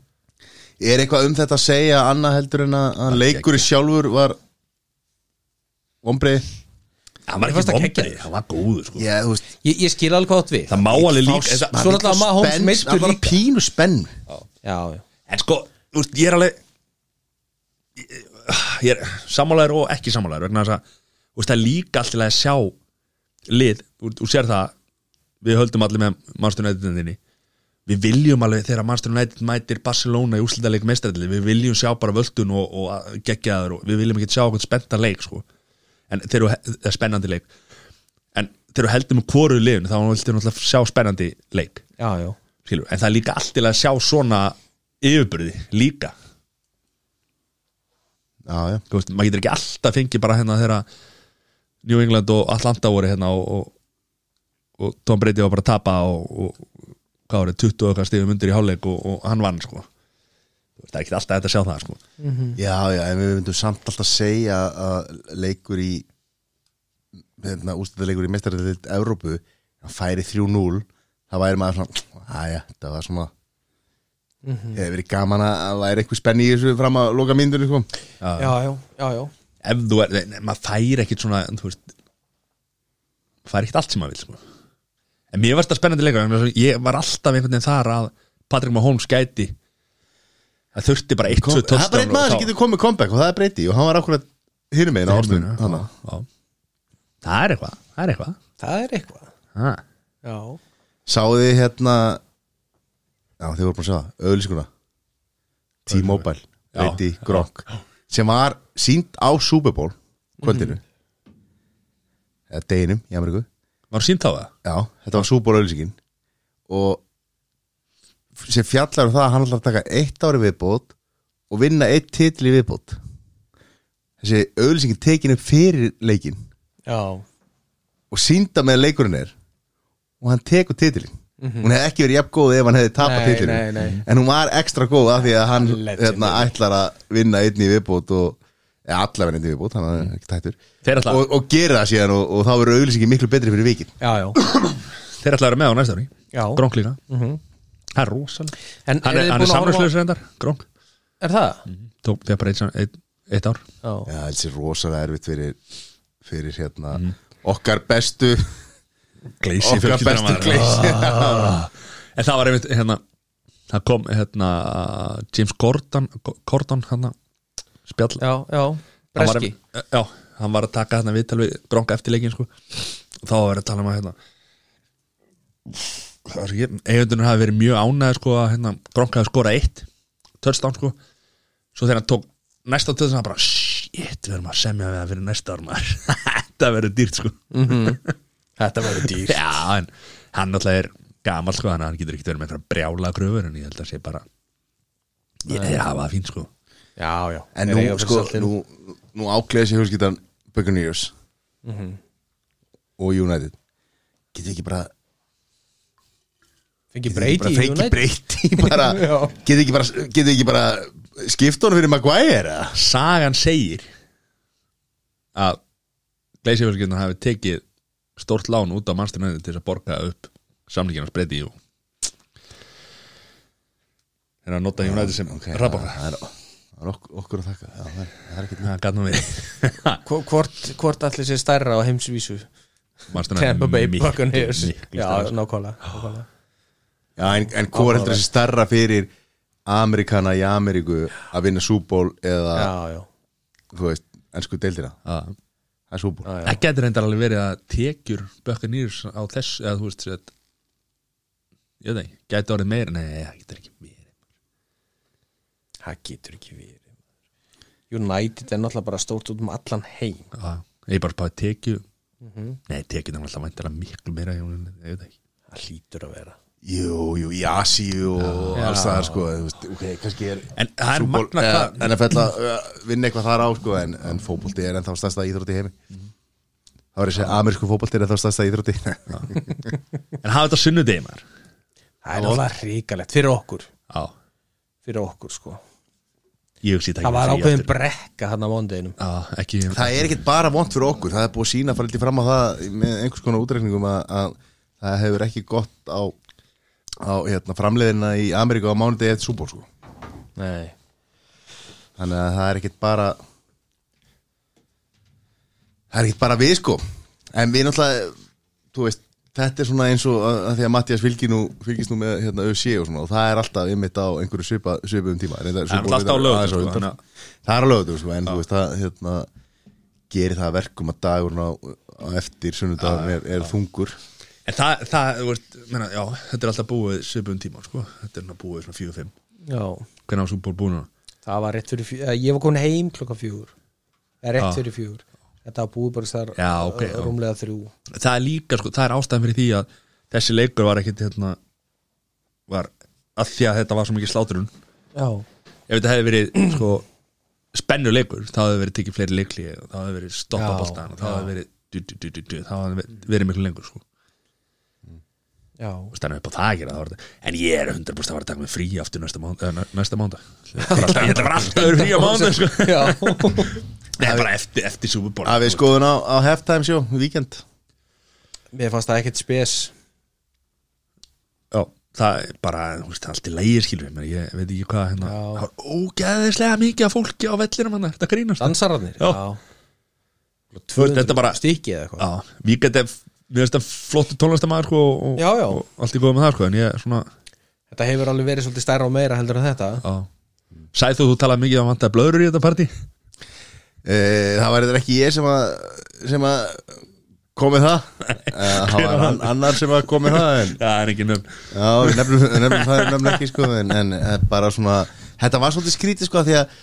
er eitthvað um þetta að segja annað heldur en að, að leikurinn sjálfur var ombrið Hann var Mér fannst ekki það vombri, geggjað. hann var góður sko já, þú veist Ég, ég skil alveg hvað átt við Það má alveg líka Fá- það- Svo náttúrulega það Mahomes spenn- meiddur það var líka. pínu spenn Já, já En sko, þú veist, ég er alveg Ég- Ég er sammálaður og ekki sammálaður vegna þess að þú veist, það er líka allt til að sjá lið, þú þú sér það við höldum allir með Manstur United-inni við viljum alveg þegar Manstur United mætir Barcelona í úslitaðleik meistarilli við viljum sjá bara völdun og, og geggjaður og við viljum ekki sjá okkur spenntan leik sko. en þeir eru það er spennandi leik en þeir eru heldur með hvoru liðun þá viljum við náttúrulega sjá spennandi leik Já, já skilur, en það er líka allt til að sjá svona yfirburði líka já, já. Veist, maður getur ekki alltaf fengið bara hérna þegar New England og Atlanta voru hérna og, og, og Tom Brady var bara að tapa og, og hvað voru, 20 okkar stigum undir í hálfleik og, og hann vann sko Þú veist, það er ekki alltaf þetta að sjá það sko Mhm. já, já, en við myndum samt alltaf segja að leikur í hérna, ústæðarleikur í mestarðið Evrópu, hann færi 3-0 það væri maður svona aðja, þetta var svona Mhm. hefði verið gaman að að væri eitthvað spenni í þessu fram að loka myndunni sko. já, já, já, já ef þú er, nei, nei, maður fær ekkit svona þú veist fær ekkit allt sem maður vil sko. en mér varst það spennandi leikur vegna þess að ég var alltaf einhvern veginn þar að Patrick Mahomes gæti það þurfti bara eitt Kom, það tvö er bara touchdown einn maður og sem þá- getur komið comeback og það er breyti og hann var akkurat hinum einu ástum þannig það er eitthvað það er eitthvað það er eitthvað ha. já, Sáðu þið hérna Já, þið voru búin að sjá það, auðlýskuna T-Mobile, Brady, Gronk sem var sínt á Super Bowl Mhm. kvöldinu eða deginum í Ameríku Var sínt á það? Já, þetta var Super Bowl auðlýsingin og sem fjallar um það að hann ætlar að taka eitt ári viðbót og vinna eitt titl í viðbót þessi auðlýsingin tekin upp fyrir leikin já, og sínda með leikurinn er og hann tekur titilin hún hefði ekki verið jafn góð ef hann hefði tapað Mhm. Nei, nei, titilin nei. en hún var ekstra góð af því að hann hérna, ætlar að vinna einn í viðbót og ja, allavega einn í viðbót hann er ekki tættur Þeir ætla- og, og gera það síðan og, og þá verður auðlýsingi miklu betri fyrir vikin já, já [COUGHS] þeir ætla að vera með á næsta ári Já. Gronk líka Mhm. það er rosalega En hann eruð er, þið búin hann er að horfa- samverðslaus reyndar Gronk er það? tók þegar bara eitt, eitt, eitt ár já, Já, þessi er rosalega erfitt fyrir fyrir hérna okkar bestu Gleysi okkar fjölskyldan bestu maður. gleysi Ah. En það var einmitt hérna, Það kom hérna James Gordon, Gordon hérna, Spjall já, um- já, Hann var, eh, breski já, hann var að taka þarna viðtal við Gronka eftir leikin sko. og þá var verið að tala um að hérna, það var ekki eigundunum hafi verið mjög ánæði sko, að hérna, Gronka hafi skorað eitt touchdown sko. svo þegar hann tók næsta touchdown hann bara shit, við erum að semja við það fyrir næsta ár maður [LAUGHS] þetta verður dýrt sko. Mhm. [LAUGHS] þetta verður dýrt Já, en hann náttúrulega er gamal sko, þannig að hann getur ekki verið með einhverja brjála kröfur en ég held að sé bara ég þeir hafa það fín sko já, já en Þeir eiga nú fyrir sko saltinu. nú, nú ákleða sér fjölskyldan Buccaneers Mhm. og United getur ekki bara fengi Getur ekki breyti bara fengi breyti bara, [LAUGHS] Já. getur ekki bara, getur ekki bara skipt honum fyrir Maguire eða? Sagan segir að Gleisifjölskjöndan hafi tekið stórt lán út á mannstyrnöðu til þess að borga upp samlíkjana spreyti og er að Ah, nota United sem okay, rabaka það er, það er ok okkur að þakka já, það, er, það er ekki Það gæt nú við Hvor- hvort, hvort allir sé stærra á heimsvísu Mannstyrnöðu Tampa Bay Buccaneers já, nákvæmlega nákvæmlega. já, en, en hvað heldur þessi starra fyrir Amerikana í Ameríku að vinna súból eða já, já, þú veist, ennsku deildina Það það er súból getur reyndar alveg verið að tekjur Buccaneers á þess eða þú veist að, ég veit ekki, gæti orðið meira nei, það getur ekki meira það getur ekki verið United er náttúrulega bara stórt út um allan heim Já, Ah, ég er bara spáði tekju Mhm. nei, tekjur þannig alltaf væntar miklu meira hjá honum, ég veit ekki það hlýtur að vera jú, jú, í Asíu og Já. alls það sko, þú veist, ok, kannski er En það er súból, magna eða, hvað en að fella eh, vinna eitthvað þar á sko, en, en fótbolti er ennþá stærsta íþrótti í heimi það var að segja amerísku fótbolti er ennþá stærsta íþrótti En hafa þetta sunnudegi maður það er náttúrulega hrikalegt fyrir okkur Já, fyrir okkur sko ég hugsi þetta það var ekki ákveðin brekka hann á mondeginum Já, ekki það er ekkit bara vond fyrir okkur það er búið að sína fyrir fram á það með einhvers konar útreikningum að, að það hefur ekki gott á, á hérna, framleiðina í Ameríku á mánudegi eitt súból sko. nei þannig að það er ekkit bara það er ekkit bara við sko en við náttúrulega þú veist, þetta er svona eins og að, að því að Mattias fylgir nú, fylgist nú með hérna, ÖSI og svona og það er alltaf ymmit á einhverju svipa, svipum tíma Reyndar, Það er Super Bowl alltaf á er aðeins laugardögum, sko, undan. þannig það er á lögutum sko, en þú veist það hérna, gerir það að verkum að dagurinn á, á eftir sunnudagur er, er þungur En það, það, þú veist, menna, já, þetta er alltaf búið svipum tíma, sko Þetta er hann búið svona 4-5 já Hvernig á súból búin hann? það var rétt fyrir fjúr ég var komin heim klokka fjúr það er rétt Já. fyrir fjúr þetta var búið bara þessar Já, ok, já. rúmlega þrjú það er líka sko, það er ástæðan fyrir því að þessi leikur var ekkit hérna var að því að þetta var svo mikið slátrun Já. ef þetta hefði verið [CLEARS THROAT] sko, spennu leikur, þá hefði verið tekið fleiri leikli þá hefði verið stoppa Já, boltan þá já. hefði verið du, du, du, du, du, þá hefði verið- verið miklu lengur sko. Já. og stannum upp á það að gera það var þetta. en ég er 100% að fara að taka mig frí aftur næsta mánudag, eða næ- næsta mánudag. [LAUGHS] ég ætla ég ætla bara aftur að vera frí á mánudag sko. Nei, bara eftir, eftir Superból að við skoðum á, á halftime sjó, víkend [LAUGHS] Mér fannst það ekkert spes Já, það er bara, þú veist, allt í lægir skilur við, menn, ég veit ekki hvað hérna, það var ógeðislega mikið af fólki á vellinum hann, þetta grínast Dansararnir, já, Þú veist, þetta bara stikið eða eitthvað Já, Víkend er, mér finnst það flottu tónlistamæður sko, og, Já, já. og allt í góðum með það sko, en ég svona, Þetta hefur alveg verið svolítið stærra og meira heldur en þetta já Sæðu þú talað mikið um vantaði blöður í þetta partí? e, það var eitthvað ekki ég sem að sem að komið [LAUGHS] það Eh, það var hann, annar sem að komið það en, Já, það er ekki nöfn já, við nefnum, nefnum það er nefnum ekki sko en, en eh, bara svona, þetta var svolítið skrítið sko af því að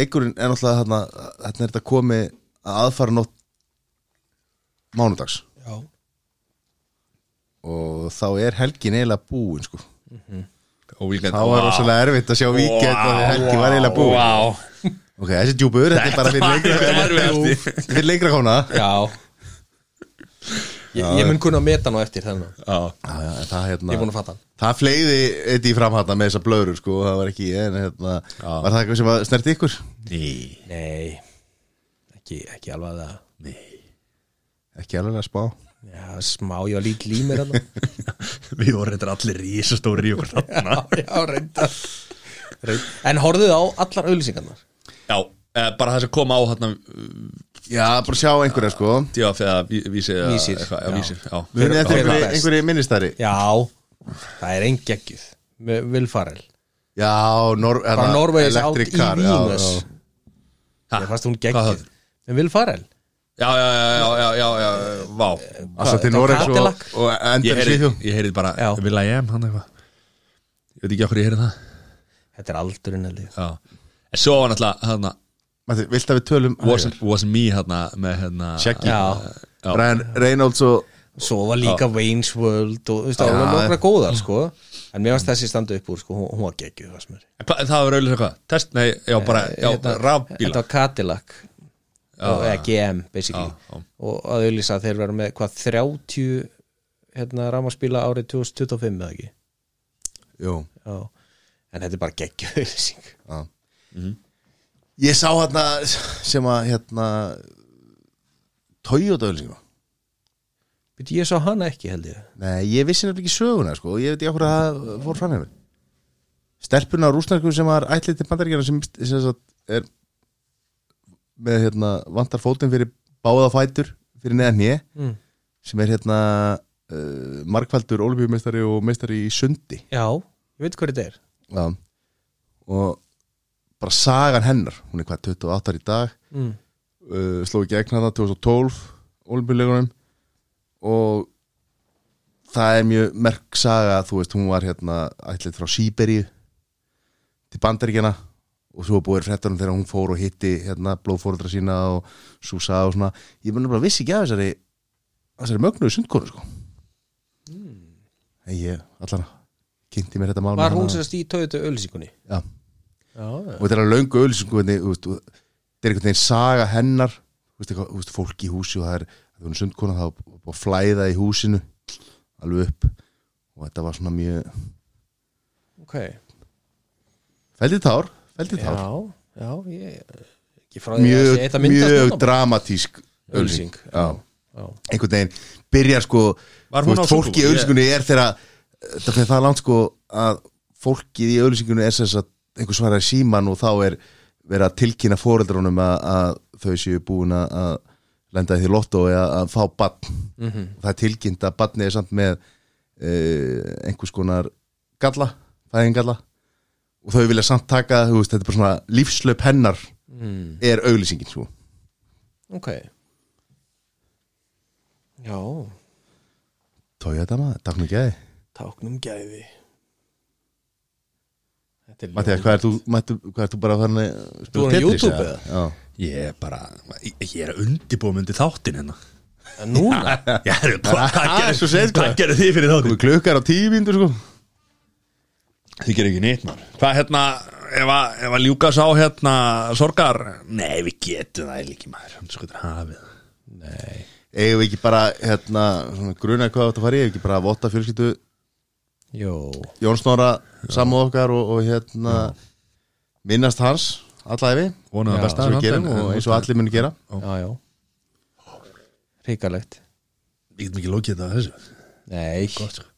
leikurinn er náttúrulega þarna, þarna er þetta komið að aðfara nótt mánudags Já. og þá er helgin eiginlega búin sko Mhm. Og Víkend þá var rosalega erfitt að sjá víkend wow, og helgi var eiginlega búin wow. ok, þessi djúpur, þetta er bara fyrir var lengra erfitt. Þetta er fyrir lengra kona Já Ég, ég mun kunna að meta nú eftir þennan Já, já, já, en það Ég er búin hérna að fatta hann. það fleiði eitt í framhatna með þessa blöður sko, það var ekki ég en hérna, var það eitthvað sem að snerti ykkur Nei, Nei, ekki, ekki alveg að það ekki alveg að spá Já, smá, ég var lít límir hann við vorum þetta allir rísastóri í okkur [LAUGHS] þarna [LAUGHS] Já, reynda En horfðu á allar auðlýsingarnar Já, eh, bara það sem kom á hérna já, bara sjá einhverja sko Díaf eða Ví- vísir eða Vísir. eitthvað, Já. já, vísir já. munið eftir hver var einhverju- best? einhverju minnistæri Já, það er enn geggjuð Með Will Farrell já, nor, hérna, Bara Norvegs átt í Electric Car, já, Vínus já. Ha, Ég fannst hún hvað geggjuð það? En Will Farrall já, já, já, já, já, já, já, vá Eh, Alltaf til Þetta var Noregs og, Cadillac. og Ég endur í heyrði, Svíþjóð ég heyrði bara Já. Vil að ég em, hann eitthvað Ég veit ekki okkur ég heyrði það Þetta er aldurinn að lið Já En svo var náttúrulega hérna Matti, Vilt að við tölum Wasn't, wasn't me hérna með hérna Shaggy. Já. já. Ryan Reynolds og Svo var líka Wayne's World og þú veist, það Já, var nokkra já. góðar sko En mér varst þessi standu upp úr sko, hún, hún var geggjuð það sem er En Hva, Það var auðvitað hvað? Test, nei, já, bara, já, Eh, Þetta- Hérna, Þetta rafbíla var Cadillac og, eða GM basically Já, já. og að auðlýsa að þeir vera með hvað 30 hérna, rámaspíla árið 2025 eða ekki Jú, já. en þetta er bara geggjöð auðlýsing já Ég sá hérna sem að hérna Toyota sko. ölsingu Býtu, ég sá hana ekki held ég Nei, ég vissi nefnilega ekki söguna sko og ég veit ekki okkur að það fór fram hefur Stelpuna rúsnarsku sem var ætlið til bandaríkjana sem, sem sagt, er með hérna vantar fótum fyrir báða fætur fyrir neðan nýja Mm. sem er hérna uh, markfældur olífjumestari og meistari í sundi já, ég veit hvað þetta er Já. og bara sagan hennar hún er hvað 28 ára í dag mm. uh, sló í gegn hana 2012 olimpíuleikunum og það er mjög merk saga þú veist hún var hérna ætlið frá Sýberíu til bandaríkjana og svo búið fréttanum þegar hún fór og hitti hérna blóðfóruðra sína og Súsa og svona ég mun bara vissi ekki af þessari þessari mögnuðu sundkonu sko mm. ég allan kynnti mér þetta mál Mm. var hún hana. sérst í tóðutu auðlýsingunni Já. já, og þetta er að löngu ölsingu þetta er einhvern veginn saga hennar þú veist, eitthvað, þú veist, fólk í húsi og það er það er sundkona það var búið að flæða í húsinu alveg upp og þetta var svona mjög ok fældið tár, fældið já, tár já, ég ekki frá því að sé mjög, eitt hérna. að myndast mjög þarna. dramatísk Auglýsing, ölsing já. já. einhvern veginn byrjar sko Var þú veist, hún á Sundkonu? fólk í ölsingunni er þegar þetta fyrir það langt sko að fólkið í ölsingunni er þess að einhver svarar í síman og þá er verið að tilkynna foreldrónum að, að þau séu búin að- að lenda í því lotto eða að fá badn Mhm. það er tilkynnt að badni er samt með uh, einhvers konar galla, fæðingalla og þau vilja samt taka þú veist, þetta er bara svona lífslöp hennar Mm. er auglýsingin sko. svo ok já, Tója þetta maður, takk mér gæði táknum gæði þetta er Mattias, hvað er þú, mættu, hvað er þú bara farin að spila Þú er á Tetris, YouTube eða? Já, Ég er bara, ég, ég er undibúið myndi [LAUGHS] þáttin hérna ljóð núna Ég er, hvað Ah, svo segir gerðu- sko. hvað gerðu þið fyrir þáttin? komið klukkar á tíu mínútur sko Þið gerir ekki neitt maður Hvað hérna, ef að, ef að ljúka sá hérna sorgar Nei, við getum það eiginlega ekki maður Hann skutur hafið Nei Eigum við ekki bara, hérna, svona, gruna hvað þetta fari, eigum við ekki bara að votta fjölskyldu Jó Jón Snorra samúð okkar og, og hérna minnast hans alla efi Vona það eins besta og samt, við gerum en- en- og eins og allir muni gera Já, já Ríkalegt Við getum ekki lokið þetta að þessu Nei Gott sko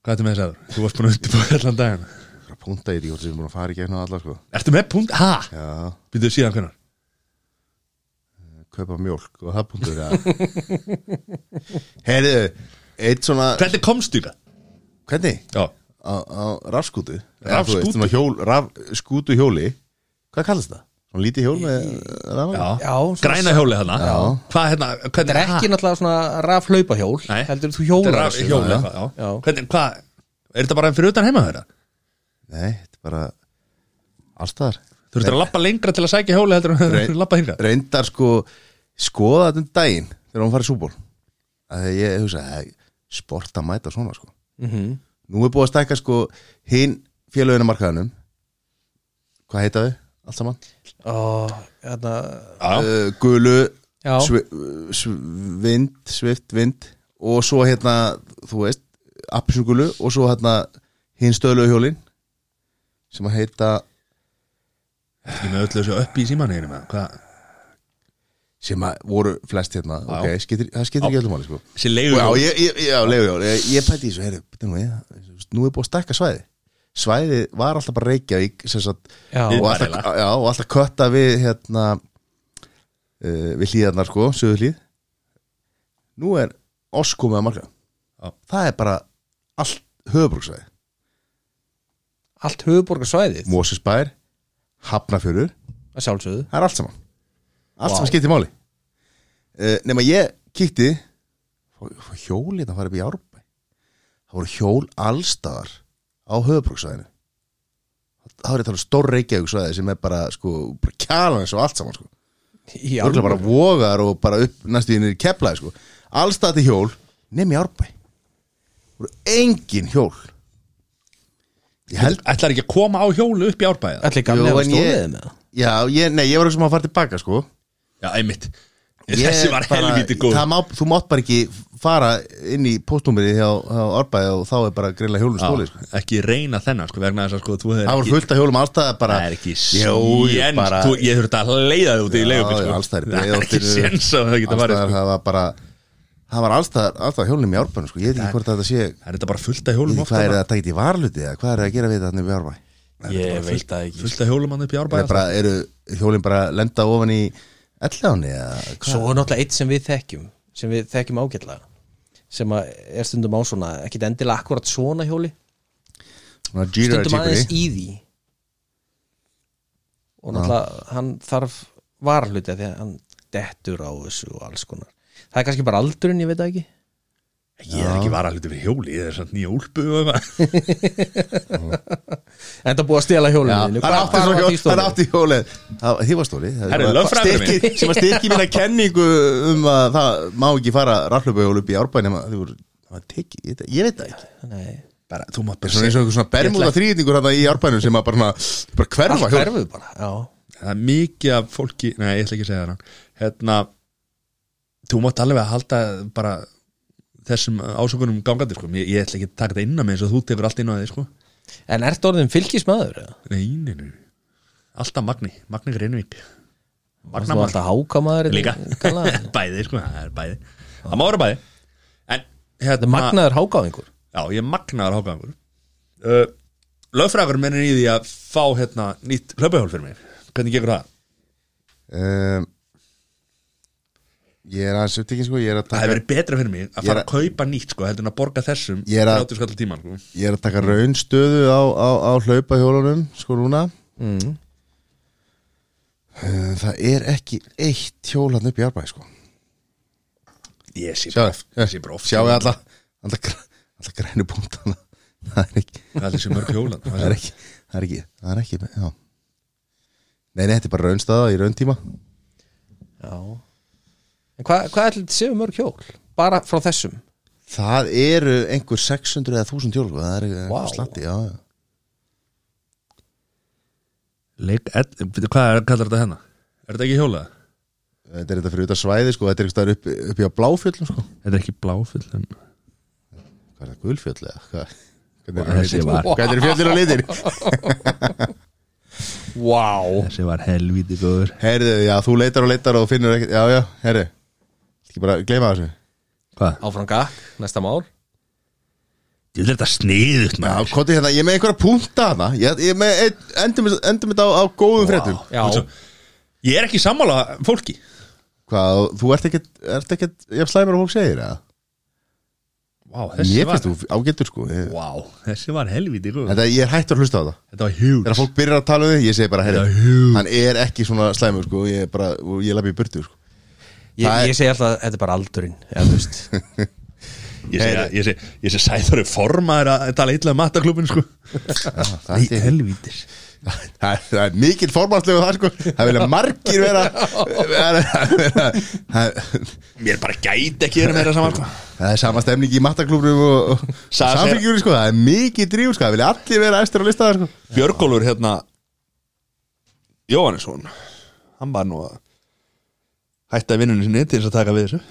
Hvað ertu með þess aður? Þú varst búin að undirbúið allan daginn Það er púnta í því hvort sem við erum búin að fara í gegnum alla sko Ertu með punkt? Ha? Já, Býttu síðan hvernig? kaupa mjólk og það púntur [LAUGHS] Herðu, eitt svona Hvernig komstu ykkar? Hvernig? Já Á, á rafskútu Rafskútu? Rafskútu raf, Skútu hjóli Hvað kallast það? Svona lítið hjól með rafan Já, svona- Græna hjólið þarna Já. Hvað hérna? Þetta Hvernig? er ekki náttúrulega svona raflaupahjól Nei. Heldur þú hjólar Þetta er þessu. rafhjól Já, eitthvað, já. já. Hvernig, hvað? Er þetta bara fyrir utan heima þeirra? Nei, þetta er bara Allstaðar Þú ert að lappa lengra til að sækja hjóli heldur en [LAUGHS] Nei. að lappa hinga Reyndar sko Skoða þetta um daginn Þegar hún farið súból Þegar ég hugsa hey, Sport að mæta svona sko Mhm. Nú er búið að stækka sko Hinn félögina markaðanum Hvað heita þau? Allt saman Ó, hérna uh, Gulu Já. svi, sv, Vind, svift, vind Og svo hérna, þú veist Appisugulu og svo hérna Hinn stöðlegu hjólin Sem að heita Ég með öllu þessu upp í símaneginu með Hvað? Sem að voru flest hérna Já. okay, skiptir, Það skiptir ekki Já. öllum máli sko Þessi leigu Já, ég, ég, já, legu, já, ég, ég pæti í þessu heyri, bíddu nú, ég, nú er búið að stekka svæði Svæði var alltaf bara Reykjavík sem sagt, Já. og, alltaf, Iðnaðarlega. já, og alltaf kötta við hérna, uh, við hlýðarnar sko, sögur hlýð Nú er Osko með að marka Já. Það er bara allt höfubruksvæði Allt höfuborgarsvæðið Mósisbær, Hafnafjörður Að sjálfsögðu Það er allt saman Allt Vá. saman skiptir máli uh, Nefn að ég kíkti fó- fó Hjóli þetta farið upp í Árbæ Það voru hjól allstaðar Á höfubruksvæðinu Það voru þetta stór reykjavíksvæði Sem er bara sko bara Kjalan eins og allt saman sko Í Örgulega bara vogar og bara upp Næstu í nýri keplaði sko Allstaði hjól nefn í Árbæ Það voru engin hjól Ég held Ætlar ekki að koma á hjólu upp í árbæða Allir gamlega Jú, var en stóðið ég- með það Já, ég, nei, ég var ekki sem að fara tilbaka sko Já, einmitt Ég Þessi var bara- helvítið góð það má, Þú mátt bara ekki fara inn í postnúmerið hjá, hjá Árbæði og þá er bara greinlega hjólum stóli sko. Já, Ekki reyna þennan sko vegna þess að sko þú hefur Það voru fullt af hjólum allstæða bara Það er ekki Jó, ég séns bara- Þú- Ég þurft að leiða þig út í Já, leiðum já, sko. allstaðar í [LAUGHS] Það er ekki Breiðholtinu, séns að það geta farið allstaðar, sko. Það var bara Það var allstæðar, allstæðar hjólum í Árbæði sko. Ég veit ekki hvort þetta sé Það er þetta bara fullt af hjólum Hvað er það að taka þetta í varluti eða hvað er það að gera við þetta í Árbæði Ég veit það ekki Fullt af hjólum hann upp í Það árbæða er bara, eru hjólum bara að lenda ofan í elláni eða hvað Svo er náttúrulega eitt sem við þekkjum sem við þekkjum ágætlega sem að er stundum á svona, ekkit endilega akkurat svona hjóli Svona Jira stundum aðeins Jeepri í því og náttúrulega hann þarf varhluti því að hann dettur á þessu og alls konar það er kannski bara aldurinn, ég veit það ekki Ég er ekki vara hluti fyrir hjóli Ég er samt nýja úlpu og eitthvað. en það er búið að stela hjólinu þínu. Það Hvar- átti hvar svo var því hjól, stólið? það átti hjólið Það þið var stóli Það Herri, var- lögfræðingurinn styrkir- Sem að styrki minna kenningu um að það má ekki fara raflöpahjól upp í árbænum að þið voru, það var teki, ég, ég veit það ekki Nei, Bara, Þú Svona mátt bara eins og einhver svona bermúða þrýðningur þetta í árbænum sem að bara, svona- bara allt hverfa hjól hverfuð bara já, það er mikið af fólki nei, ég ætla ekki að segja það hérna, þú mátt alveg að halda bara þessum ásökunum gangandi sko. ég, ég ætla ekki að taka þetta innan með eins og þú tekur allt inn á þig sko. en ert orðin fylgismæður? nei, nei, nei, alltaf Magni Magni Greinvík Þú er alltaf hákamæður líka kallaður? [LAUGHS] bæði, sko, það er bæði það má vera bæði en, Þetta er hérna, magnaður hákáðingur já, ég er magnaður hágangur uh, lögfræður mennir í því að fá hérna, nýtt hlaupahjól fyrir mig hvernig gekur það? um, Ég er aðeins upptekinn sko, ég er að það hefur taka, verið betra fyrir mig Ég að er fara að að- kaupa nýtt sko, heldur en að borga þessum Ég er að- 30 skall tíma sko. ég er að taka raunstöðu á, á, á hlaupahjólunum sko núna mm. Um, Það er ekki eitt hjól hann upp í árbæði sko ég sé bara oft- ég sé bara Sjáu, oft sjáu alla, alla, gr- alla grænu punktana [LAUGHS] Það er ekki það er þessi mörg hjólan [LAUGHS] það er ekki það er ekki, það er ekki já. nei, nei, þetta er bara raunstaða í rauntíma Já En hvað hva ætlir þetta séu mörg hjól? Bara frá þessum? það eru einhver 600 eða 1000 hjól sko, það er Vá. wow. slatti, já, já Leik, ed, bíddu, hvað er, kallar hérna? þetta hennar? Er þetta ekki hjólað? Þetta er þetta fyrir utan svæði sko, þetta er eitthvað upp, upp í á bláfjöllum sko Þetta er ekki bláfjöll en... Hvað er það, gulfjöll eða? Hvað- Hvernig Vá, eru þessi litir? var- Hvernig eru fjöllir á litir? Vá Þessi var helvíti góður Herðu, já, þú leitar og leitar og finnur ekkert Já, já, herðu Ekki bara gleyma þessu Hvað? Áfram gakk, næsta mál Þetta er þetta sniðugt Já, maður koti hérna, ég er með einhverja punta hana Ég, ég er með, einn- endum, endum þetta á, á góðum fréttum Já, Þú veist svo- Ég er ekki sammála fólki Hvað, þú ert ekkert, ert ekkert Ég slæmur og fólk segir það Vá, Ég finnst þú ágættur sko ég, Vá, þessi var helvíti góður Þetta, ég er hættur að hlusta á það Þetta var huge Þegar fólk byrjar að tala um þig, ég segi bara Þetta herri, var huge Hann er ekki svona slæmur sko Ég er bara, og ég lafi í burtu sko [LAUGHS] ég, Það er- ég segi alltaf að þetta er bara aldurinn eða, þú veist. [LAUGHS] Ég segi, ég segi, ég segi sæður formaður að tala illa um mataklubin sko [LAUGHS] Það er- helvítis Það er- það er mikill formannslegu það sko Það vilja margir vera vera- vera- Það Mér bara gæti ekki verið meira saman sko það er sama stemning í mattaklúrum og, og Saga segir- samfélgjur sko Það er mikið dríf sko Það vilja allir vera eftir á listaðar sko Björgólfur hérna Jóhannesson Hann var nú að Hætta vinnunni sinni til þess að taka við þessu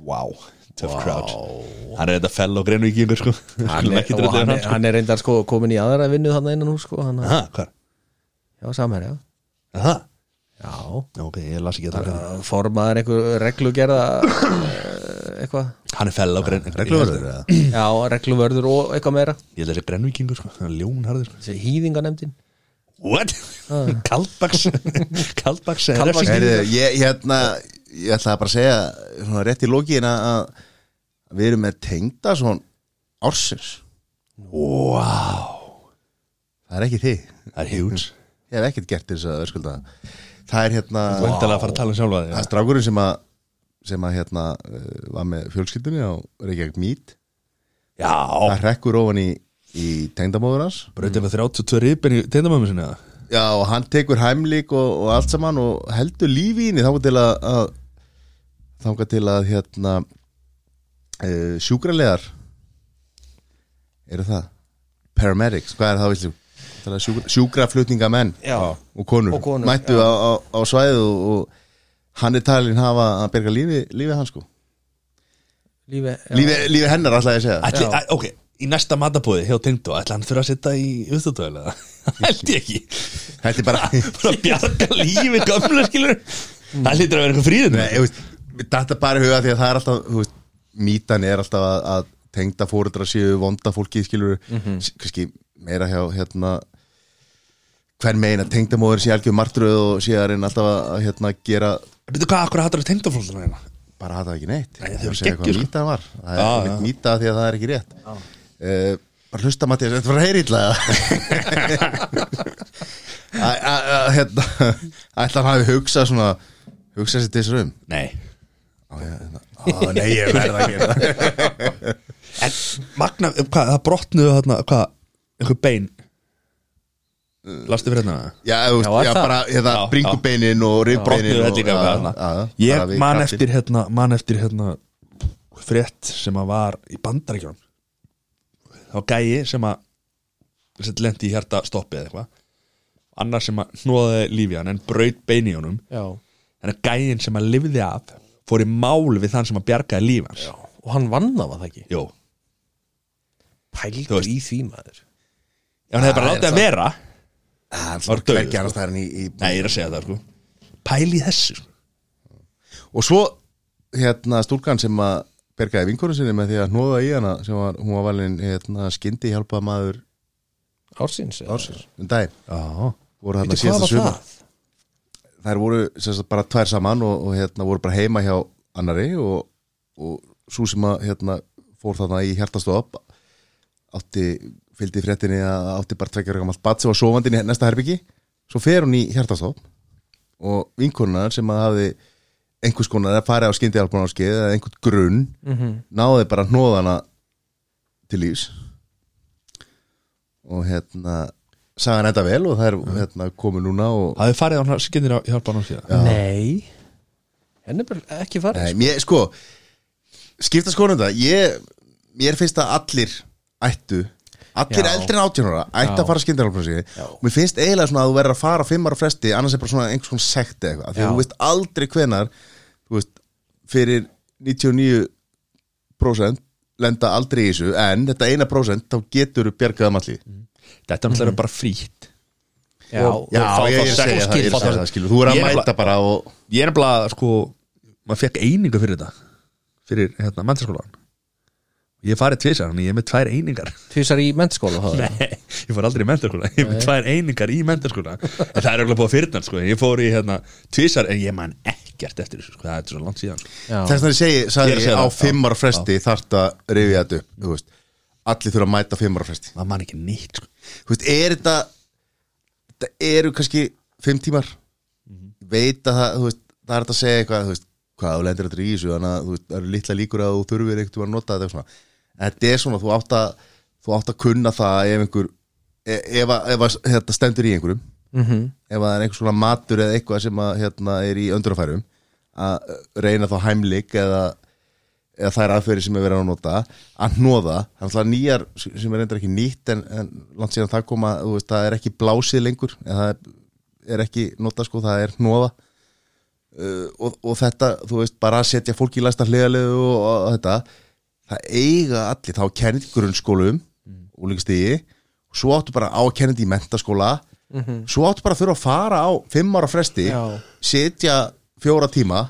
Wow Tough crowd Hann er þetta fell og greinu ekki yngur sko hann, er, og hann, er, hann er reyndar sko komin í aðra vinnu þannig innan hún sko hann, Aha, hvar? Já, samherja Aha Já, Ok, ég las ekki þetta formaður einhver reglugerða eh, eitthvað Hann er fell og greinu Regluvörður, eða? Já, regluvörður og eitthvað meira Ég held að þessi grennvíkingur sko, hann er ljónharður Þessi hýðinganemdin What? [LAUGHS] Kaldbaks Ah. Kaldbaks Kaldbaks- Heyrðu, Ég hérna Ég ætla bara að segja svona, rétt í lokiðin að að við erum með tengda svona ársins Wow Það er ekki þið Það er huge Ég hef ekkert gert til þess að öskulda það. Það er hérna Þú endalega að fara að tala um sjálfa Það er þig strákurinn sem að sem að hérna uh, var með fjölskyldunni á Reykjavík Meet Já það hrekkur ofan í, í tengdamóður hans Brautin með 32 ribin í tindamömmu sinni eða? já og hann tekur hæmlik og, og allt saman og heldur lífi inni þá til að, að þá til að hérna uh, sjúkralegar eru það paramedics, hvað er það villum sjúkra, sjúkraflutninga menn Já. og konur, Og konur, mættu já. á, á, á svæðu og, og hann er talin hafa að berga lífi, lífi hans sko Lífi, já. lífi, lífi hennar alltaf ég að segja Ætli, að, ok, í næsta matabóði hjá Tengdó ætla hann þurfa að setja í uppstáttöðulega [LAUGHS] Held ég ekki Þetta er bara [LAUGHS] Bara Mm. að bjarga lífi gamla skilur Það hlýtur að vera eitthvað fríðin Nei, ég veist, Þetta er bara í huga því að það er alltaf þú veist, Mítan er alltaf að, að tengda fóreldra séu vonda fólki skilur mm Mhm. kannski meira hjá hérna hvern megin að tengdamóður sé algjör martröð og sé að reyna alltaf að hérna, gera Býttu hvað, akkur hattur að Tengdó fólkna hérna bara hata ekki neitt Nei, þau Ég eru að segja hvað geggjuð, sko. mýta var það er Já, ah, já. mýta því að það er ekki rétt uh, bara hlusta Mattias þetta var heyrilla [LAUGHS] hérna ætla hann hafi hugsað svona hugsað sér til þessar um Nei á, hérna, á, nei ég verða að gera það [LAUGHS] En Magna, hvað, það brotnuðu þarna Hvað, einhver bein Lastu fyrir hérna já, þú veist, Já, er já það? bara hérna Já, bringubeinin og rifbeinin Brotnuðu þetta líka já, hérna já, já, bara Ég við man kraftinn. eftir hérna Man eftir hérna Frétt sem að var í bandarækjón Þá gæi sem að Sett lendi í hjarta stoppið eða eitthvað Annar sem að hnóðaði lífi hann En braut bein í honum Já. En að gæin sem að lifði af Fór í mál við þann sem að bjargaði líf hans Og hann vann af að það ekki Jó Þú Pældur veist. í því maður Ef hann hefði Það bara er látið að það. vera Ah, hann Var svona dauður, hvergi annars staðar en í, í Nei, ég er að segja það sko Pæli þessu sko. og svo hérna stúlkan sem að bergaði vinkonu sinni með því að hnóða í hana sem var, hún var valin hérna skyndi hjálpa maður Ársins eða? ársins um daginn Já voru Veitu, hérna hvað síðasta var sumar það? þær voru sem sagt, bara tvær saman og, og hérna voru bara heima hjá annari og, og svo sem að hérna fór þarna í hjartastof átti, fylgdi í fréttinni að átti bara tveggjara gamalt bat sem var sofandi í næsta herbyggi svo fer hún í hjartastof og vinkonunar sem að hafi einhvers konar að fara á skyndihjálpunarskið eða einhvern grunn náði bara hnóðana til lífs og hérna sagan enda vel og það er hérna, komið núna og Það hefði farið á hann skindir að hjálpa hann á síðan Nei Henni er bara ekki farið Nei, mér, sko um skipta skoðum þetta ég, mér finnst að allir ættu allir Já. eldri en 18 ára ætti Já. að fara skyndinálprósi og mér finnst eiginlega svona að þú verður að fara fimm ára fresti annars er bara svona einhvers konar sekt eða eitthvað af því Já. að þú veist aldrei hvenar þú veist, fyrir 99% lenda aldrei í þessu en þetta eina prósent þá getur þú bjargað um allir Þetta er náttúrulega bara frítt Já, Mhm. Og- já, og fá ég er að þá sekt segja það, ég og er skilfá að segja þá- það, skilur. Þú er að Ég mæta nefnilega- bara og- Ég er nefnilega, sko maður fekk einingu fyrir þetta fyrir hérna, mentaskólan Ég hef farið tvisar, þannig ég er með tvær einingar [LAUGHS] Tvisar í mentaskóla? Nei, ég fór aldrei í mentaskóla Ég er með Nei. tvær einingar í mentaskóla En það er auðvitað búið að fyrirna, sko Ég fór í hérna, tvisar, en ég man ekkert eftir þessu, sko Það er svo langt síðan sko. þess að ég segi, Ég er sagði að ég, á það, já, fimm ára fresti já. þarft að rifja þetta upp þú veist. allir þurfa að mæta á fimm ára fresti það man ekki nýtt sko. Þú veist, er þetta þetta eru kannski fimm tímar veit að það, þú veist, það er þetta að segja eitthvað þú veist, hvað þú lendir þetta í þessu þannig að þú veist, það eru litla líkur að þú þurfir eitthvað að nota þetta og svona. en þetta er svona, þú átt að þú átt að kunna það ef einhver e- ef, að- ef, ef þetta stendur í einhverjum Mhm. ef það er einhvers svona matur eða eitthvað sem að, hérna, er í öndurafærum að reyna þá hæmlik eða, eða þær aðferði sem er verið að nota að hnóða, þannig að nýjar sem er reyndar ekki nýtt en, en langt síðan það koma, þú veist, það er ekki blásið lengur en það er, er ekki nota sko, það er hnóða uh, og, og þetta, þú veist, bara að setja fólk í læsta hliðalegu og, og, þetta það eiga allir, þá kennir grunnskólum mm. og líka stigi svo áttu bara á að kenna þetta í mentaskóla Mhm. svo áttu bara að þurfa að fara á fimm ára fresti, Já. setja fjóra tíma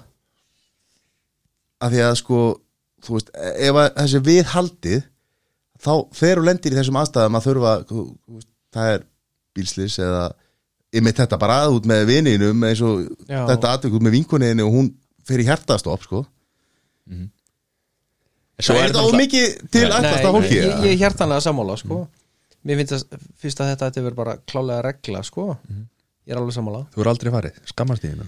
af því að sko þú veist, e- ef að þessi viðhaldið þá fer og lendir í þessum aðstæðum að þurfa, þú- þú veist, það er bílslis eða ymmið þetta bara að út með vininum eins og Já. þetta atvik út með vinkoniðinu og hún fer í hjartastopp sko Mhm. Svo er þetta ómikið til ætlast að fólki Ég, ég er hjartanlega sammála sko. Mér finnst að, finnst að þetta ætti verið bara klálega regla sko. Ég er alveg sammála Þú er aldrei farið, skammast í hérna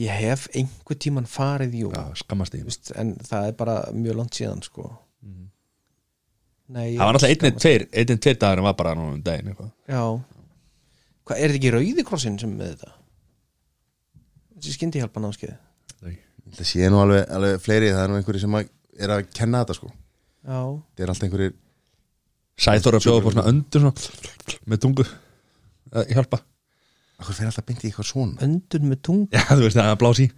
Ég hef einhver tíman farið jú Já, skammast í Vist, En það er bara mjög langt síðan sko. Nei, ég- Það var náttúrulega einn eða tveir, einn eða tveir dagar en var bara nú um daginn eitthvað. Já Hvað, er þetta ekki rauði krossin sem er með þetta? Þessi skyndi hjálpa námskeið Það sé nú alveg, alveg fleiri það er nú einhverju sem að, er að kenna þetta sko Já það er alltaf einhverjir Sæþór að bjóða bara svona öndur svona með tungu að hjálpa Akkur fyrir alltaf byndi í eitthvað svona Öndur með tungu Já, [LAUGHS] þú veist það er blás í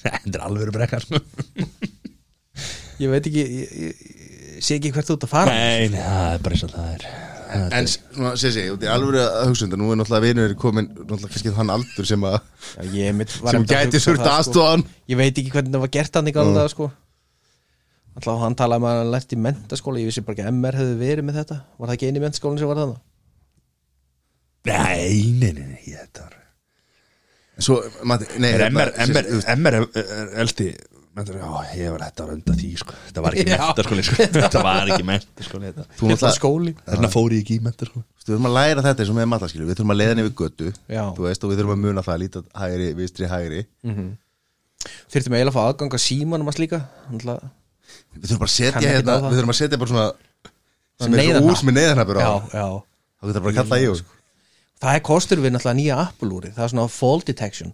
Þetta er alveg brekka sko. Ég veit ekki, ég, ég, ég sé ekki hvert þú ert að fara Nei, nei, það er bara eins og það er Þetta En er- svona, sé sé, þetta er alveg að hugsa undan nú er náttúrulega vinur komin, náttúrulega kannski þann aldur sem að Já, ég mitt var sem einmitt að gæti hugsa þurft það, aðstoðan sko. Ég veit ekki hvernig það var gert hann í Mm. galda sko. Alltaf hann talaði með hann lært í mentaskóla Ég vissi bara ekki að MR hefði verið með þetta Var það ekki einu mentaskólan sem var þannig? Nei, nei, nei, nei, ég þetta var Svo, mati, nei Er þetta- MR, sé- MR, MR er- eh, er eldi mentur, Já, ég var þetta var undan því sko. Þetta var ekki Já. mentaskóli sko. [LAUGHS] Þetta var ekki mentaskóli þetta. Þú náttúrulega- skóli Þarna fór ég ekki í sko? mentaskóli Við þurfum að læra þetta eins og með matlaskilu Við þurfum að leiða henni við götu Já. Þú veist og við þurfum að muna það Lítið hægri, vinstri, hægri Þyrftum eiginlega að fá aðgang að símanum að slíka Alltaf Við þurfum bara að Kann ekki setja hérna á það. Við þurfum að setja bara svona Sem er Neyðarhnapp. svo úr sem er neyðarnabur á Já, Það já getur bara að kalla ég Það er kostur við náttúrulega nýja Apple-úri Það er svona fall detection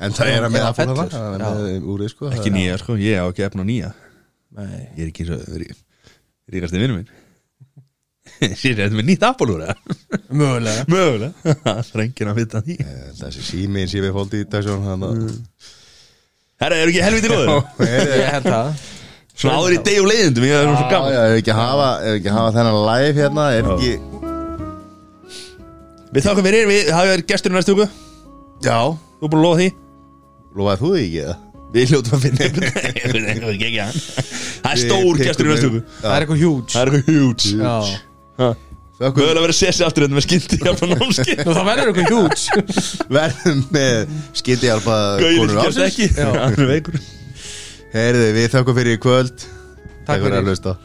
En það er að með Já, Apple fellur. þarna, það er með, um, úrið, sko, Ekki það- nýja sko, ég á ekki efna nýja Nei. Ég er ekki svo rí- ríkasti vinnum minn [LAUGHS] Sér þetta er með nýtt Apollo Mögulega Mögulega [LAUGHS] Það er enginn að vita því Ég held að Þessi símiðin sé við fóldi í dag Svo hann að Mm. Herra, eru ekki helviti góður? [LAUGHS] Ég held það Svona áður í deg og leiðindum, ég er svo Já, gaman já, ef ekki hafa, ef ekki hafa þennan live hérna Er ekki, Við þakkum fyrir, við hafum verið gestur í næstu viku já Þú er búin að lofa [LAUGHS] því Lofaði þú því ekki það? Við hljótum að finna einhvern einhvern- einhvern gegn í hann. [LAUGHS] Það Við er stór tekum gestur í næstu viku Það er eitthvað huge Það er eitthvað huge Já Þökkum Mögulega verið að sessi aftur hérna, þetta með skyndi Hjálpa námski Nú, Það verður eitthvað huge verðum með Skiti hjálpa Gauðir konur gerst ásins ekki Það er veikur Heyrðu, við þökkum fyrir í kvöld Takk fyrir að hlusta